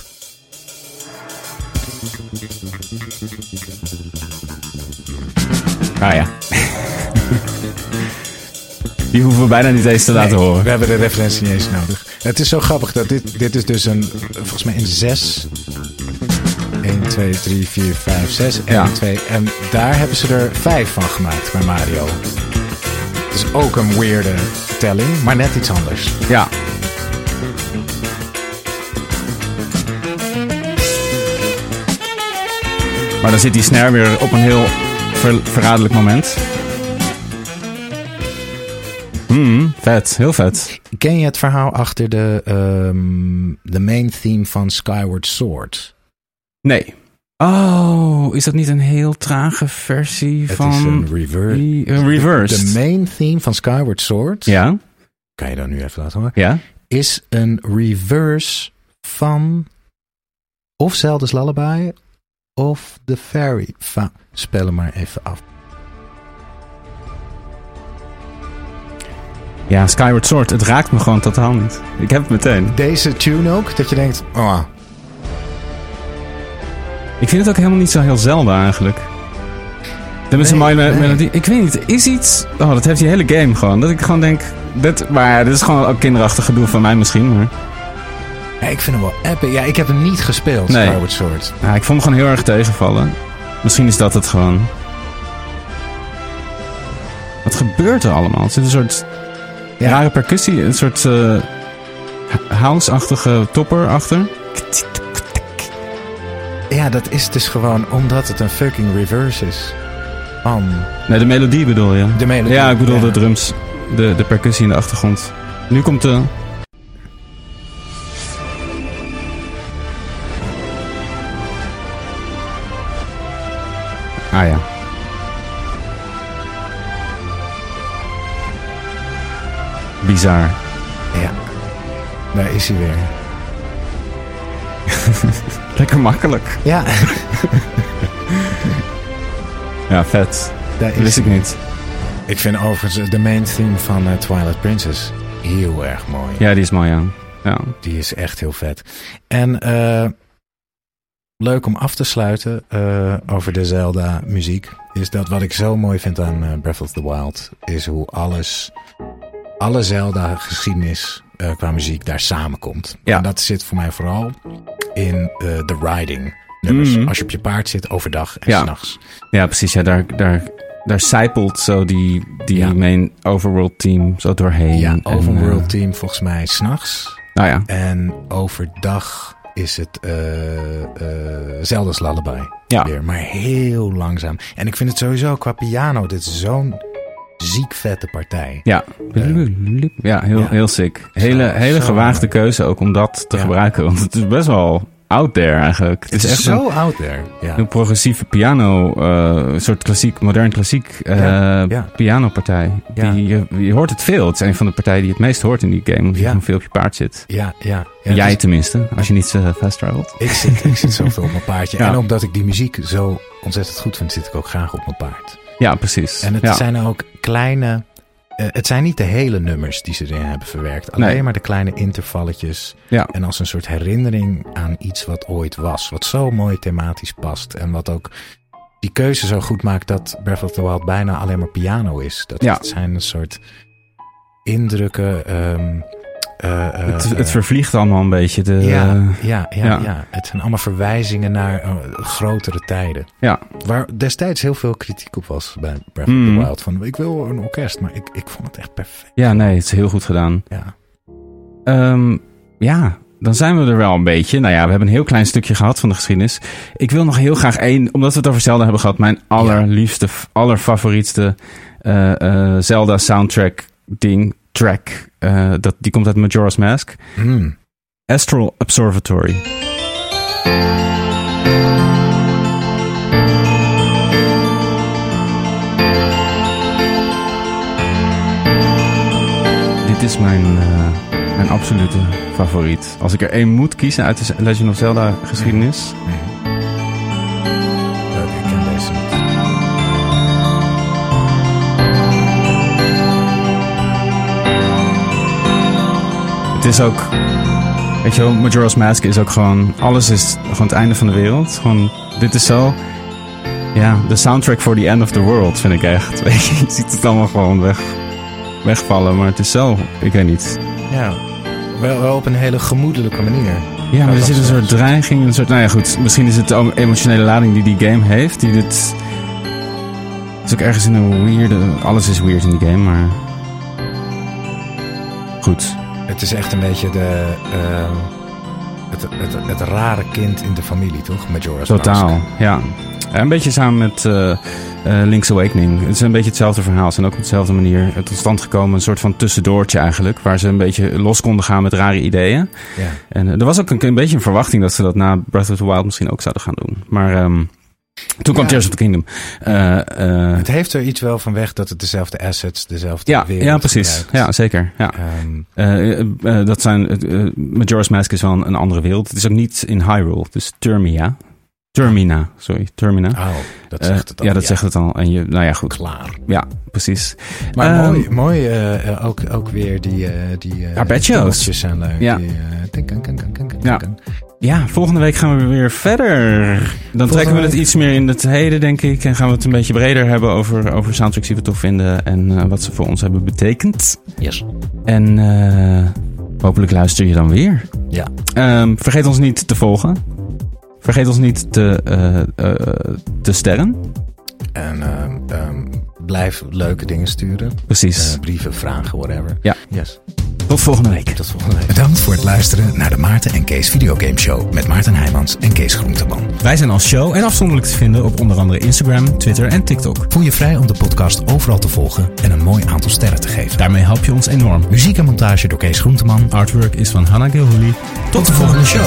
Speaker 1: Ah ja. Die hoeven we bijna niet eens te laten
Speaker 2: Nee,
Speaker 1: horen.
Speaker 2: We hebben de referentie niet eens nodig. Het is zo grappig dat dit, dit is dus een, volgens mij een 6. 1, 2, 3, 4, 5, 6 en
Speaker 1: Ja.
Speaker 2: 2. En daar hebben ze er 5 van gemaakt bij Mario. Dus ook een weirde telling, maar net iets anders.
Speaker 1: Ja. Maar dan zit die snare weer op een heel ver- verraderlijk moment. Hmm, vet. Heel vet.
Speaker 2: Ken je het verhaal achter de, ehm, de main theme van Skyward Sword?
Speaker 1: Nee. Oh, is dat niet een heel trage versie van...
Speaker 2: Het is een reverse.
Speaker 1: die- een reversed.
Speaker 2: De main theme van Skyward Sword,
Speaker 1: ja,
Speaker 2: kan je dan nu even laten horen,
Speaker 1: ja.
Speaker 2: is een reverse van of Zelda's Lullaby of The Fairy. Fa spel hem maar even af.
Speaker 1: Ja, Skyward Sword. Het raakt me gewoon totaal niet. Ik heb het meteen.
Speaker 2: Deze tune ook, dat je denkt, oh,
Speaker 1: Ik vind het ook helemaal niet zo heel zelden eigenlijk. Dat is een
Speaker 2: Nee,
Speaker 1: mooie me-
Speaker 2: nee.
Speaker 1: melodie. Ik weet niet, is iets... Oh, dat heeft die hele game gewoon. Dat ik gewoon denk... Dit, maar ja, dit is gewoon ook kinderachtig gedoe van mij misschien. Maar
Speaker 2: ja, ik vind hem wel epic. Ja, ik heb hem niet gespeeld,
Speaker 1: Nee.
Speaker 2: Skyward Sword.
Speaker 1: ja, ik vond me gewoon heel erg tegenvallen. Misschien is dat het gewoon. Wat gebeurt er allemaal? Er zit een soort
Speaker 2: Ja.
Speaker 1: rare percussie. Een soort eh, h- house-achtige topper achter.
Speaker 2: Ja, dat is dus gewoon omdat het een fucking reverse is. Man,
Speaker 1: Nee, de melodie bedoel je?
Speaker 2: de melodie.
Speaker 1: Ja, ik bedoel de drums. De, de percussie in de achtergrond. Nu komt eh, de... Ah ja. Bizar.
Speaker 2: Ja, daar is hij weer.
Speaker 1: Lekker makkelijk.
Speaker 2: Ja,
Speaker 1: Ja, vet.
Speaker 2: daar
Speaker 1: Dat
Speaker 2: is
Speaker 1: wist ik
Speaker 2: hij.
Speaker 1: niet.
Speaker 2: Ik vind overigens de main theme van eh, Twilight Princess heel erg mooi.
Speaker 1: Ja, die is mooi, ja. Ja.
Speaker 2: Die is echt heel vet. En eh, leuk om af te sluiten eh, over de Zelda muziek. Is dat wat ik zo mooi vind aan eh, Breath of the Wild. Is hoe alles, alle Zelda geschiedenis eh, qua muziek daar samenkomt.
Speaker 1: Ja.
Speaker 2: En dat zit voor mij vooral in eh, de riding. nummers.
Speaker 1: Mhm.
Speaker 2: Als je op je paard zit overdag en
Speaker 1: Ja.
Speaker 2: s'nachts.
Speaker 1: Ja, precies. Ja, daar, daar, daar zijpelt zo die, die
Speaker 2: Ja.
Speaker 1: main overworld team zo doorheen.
Speaker 2: Ja,
Speaker 1: En,
Speaker 2: Overworld
Speaker 1: eh,
Speaker 2: Team volgens mij s'nachts.
Speaker 1: nou ja.
Speaker 2: En overdag is het eh eh, Zelda's Lullaby.
Speaker 1: Ja.
Speaker 2: weer, maar heel langzaam. En ik vind het sowieso qua piano, dit is zo'n ziek vette partij.
Speaker 1: Ja, ja heel,
Speaker 2: Ja.
Speaker 1: heel sick. Hele,
Speaker 2: Zo-
Speaker 1: hele
Speaker 2: zo
Speaker 1: gewaagde keuze ook om dat te
Speaker 2: Ja.
Speaker 1: gebruiken. Want het is best wel out there eigenlijk. Het,
Speaker 2: Het
Speaker 1: is echt een,
Speaker 2: zo out there. Ja.
Speaker 1: een progressieve piano, eh, een soort klassiek, modern klassiek eh
Speaker 2: Ja, ja.
Speaker 1: pianopartij.
Speaker 2: Ja.
Speaker 1: Die, je, je hoort het veel. Het is een van de partijen die het meest hoort in die game. Omdat je
Speaker 2: Ja.
Speaker 1: gewoon veel op je paard zit.
Speaker 2: Ja, ja. ja
Speaker 1: Jij
Speaker 2: dus
Speaker 1: tenminste, als je niet eh, fast travelt.
Speaker 2: ik, zit, ik zit zoveel op mijn paardje.
Speaker 1: Ja.
Speaker 2: En omdat ik die muziek zo ontzettend goed vind, zit ik ook graag op mijn paard.
Speaker 1: Ja, precies.
Speaker 2: En het
Speaker 1: ja.
Speaker 2: zijn ook kleine... eh, het zijn niet de hele nummers die ze erin hebben verwerkt. Alleen
Speaker 1: Nee.
Speaker 2: maar de kleine intervalletjes.
Speaker 1: Ja.
Speaker 2: En als een soort herinnering aan iets wat ooit was. Wat zo mooi thematisch past. En wat ook die keuze zo goed maakt dat Breath of the Wild bijna alleen maar piano is. Dat
Speaker 1: Ja.
Speaker 2: het zijn een soort indrukken. ehm, eh, eh,
Speaker 1: het,
Speaker 2: eh,
Speaker 1: het vervliegt allemaal een beetje. De,
Speaker 2: ja, ja, ja,
Speaker 1: Eh, ja.
Speaker 2: ja, Het zijn allemaal verwijzingen naar eh, grotere tijden.
Speaker 1: Ja.
Speaker 2: Waar destijds heel veel kritiek op was bij Breath of
Speaker 1: Mm.
Speaker 2: the Wild. Van ik wil een orkest, maar ik, ik vond het echt perfect.
Speaker 1: ja, nee, het is heel goed gedaan.
Speaker 2: Ja.
Speaker 1: Ehm, ja, dan zijn we er wel een beetje. Nou ja, we hebben een heel klein stukje gehad van de geschiedenis. Ik wil nog heel graag één, omdat we het over Zelda hebben gehad, mijn allerliefste, f- allerfavorietste eh, eh, Zelda soundtrack ding, track. eh, dat, die komt uit Majora's Mask.
Speaker 2: Mm.
Speaker 1: Astral Observatory. Dit is mijn, eh, mijn absolute favoriet. Als ik er één moet kiezen uit de Legend of Zelda geschiedenis.
Speaker 2: Nee. Leuk, ik ken deze niet.
Speaker 1: Het is ook... Weet je wel, Majora's Mask is ook gewoon... Alles is gewoon het einde van de wereld. Gewoon, dit is zo... Ja, de soundtrack voor The End of the World vind ik echt. Weet je, je ziet het allemaal gewoon weg, wegvallen, maar het is zo, ik weet niet.
Speaker 2: Ja, wel, wel op een hele gemoedelijke manier.
Speaker 1: Ja, maar er
Speaker 2: dat
Speaker 1: zit een
Speaker 2: is-
Speaker 1: soort dreiging, een soort... Nou ja, goed, misschien is het de emotionele lading die die game heeft, die dit... Het is ook ergens in een weirde... Alles is weird in die game, maar... Goed.
Speaker 2: Het is echt een beetje de, eh, het, het, het rare kind in de familie, toch? Majora's Mask.
Speaker 1: Totaal, ja. Ja, Een beetje samen met eh, eh, Link's Awakening. Het is een beetje hetzelfde verhaal. Ze zijn ook op dezelfde manier eh, tot stand gekomen. Een soort van tussendoortje eigenlijk. Waar ze een beetje los konden gaan met rare ideeën.
Speaker 2: Ja.
Speaker 1: En eh, er was ook een, een beetje een verwachting dat ze dat na Breath of the Wild misschien ook zouden gaan doen. Maar ehm, toen kwam
Speaker 2: Ja.
Speaker 1: Tears of the Kingdom. Eh, eh,
Speaker 2: Het heeft er iets wel van weg dat het dezelfde assets, dezelfde
Speaker 1: ja,
Speaker 2: wereld
Speaker 1: ja, precies.
Speaker 2: gebruikt.
Speaker 1: Ja, zeker. Ja.
Speaker 2: Ehm,
Speaker 1: Eh, eh, eh, dat zijn, eh, eh, Majora's Mask is wel een, een andere wereld. Het is ook niet in Hyrule. Het is Termia. Termina, sorry. Termina.
Speaker 2: oh, dat
Speaker 1: Eh,
Speaker 2: zegt het al.
Speaker 1: ja, dat zegt het al. En je, nou ja, goed,
Speaker 2: klaar.
Speaker 1: precies.
Speaker 2: Maar
Speaker 1: Ehm,
Speaker 2: mooi, mooi eh, eh, ook, ook weer die... eh die eh,
Speaker 1: Arpeggio's.
Speaker 2: dingetjes zijn leuk.
Speaker 1: Ja.
Speaker 2: Die, eh, ting, ting, ting, ting, ting, ting,
Speaker 1: Ja.
Speaker 2: ting.
Speaker 1: Ja, volgende week gaan we weer verder. Dan trekken we het
Speaker 2: week-
Speaker 1: iets meer in het heden, denk ik. En gaan we het een beetje breder hebben over, over soundtracks die we tof vinden. En eh, wat ze voor ons hebben betekend.
Speaker 2: Yes.
Speaker 1: En eh, hopelijk luister je dan weer.
Speaker 2: Ja.
Speaker 1: Ehm, vergeet ons niet te volgen. Vergeet ons niet te, eh, eh, te sterren.
Speaker 2: En ehm, ehm, blijf leuke dingen sturen.
Speaker 1: Precies.
Speaker 2: Eh, brieven, vragen, whatever.
Speaker 1: Ja.
Speaker 2: Yes.
Speaker 1: Tot volgende week.
Speaker 2: Tot volgende week.
Speaker 3: Bedankt voor het luisteren naar de Maarten en Kees Videogame Show met Maarten Heijmans en Kees Groenteman.
Speaker 4: Wij zijn als show en afzonderlijk te vinden op onder andere Instagram, Twitter en TikTok.
Speaker 3: Voel je vrij om de podcast overal te volgen en een mooi aantal sterren te geven.
Speaker 4: Daarmee help je ons enorm.
Speaker 3: Muziek en montage door Kees Groenteman.
Speaker 4: Artwork is van Hannah Gilhooly.
Speaker 3: Tot de volgende show.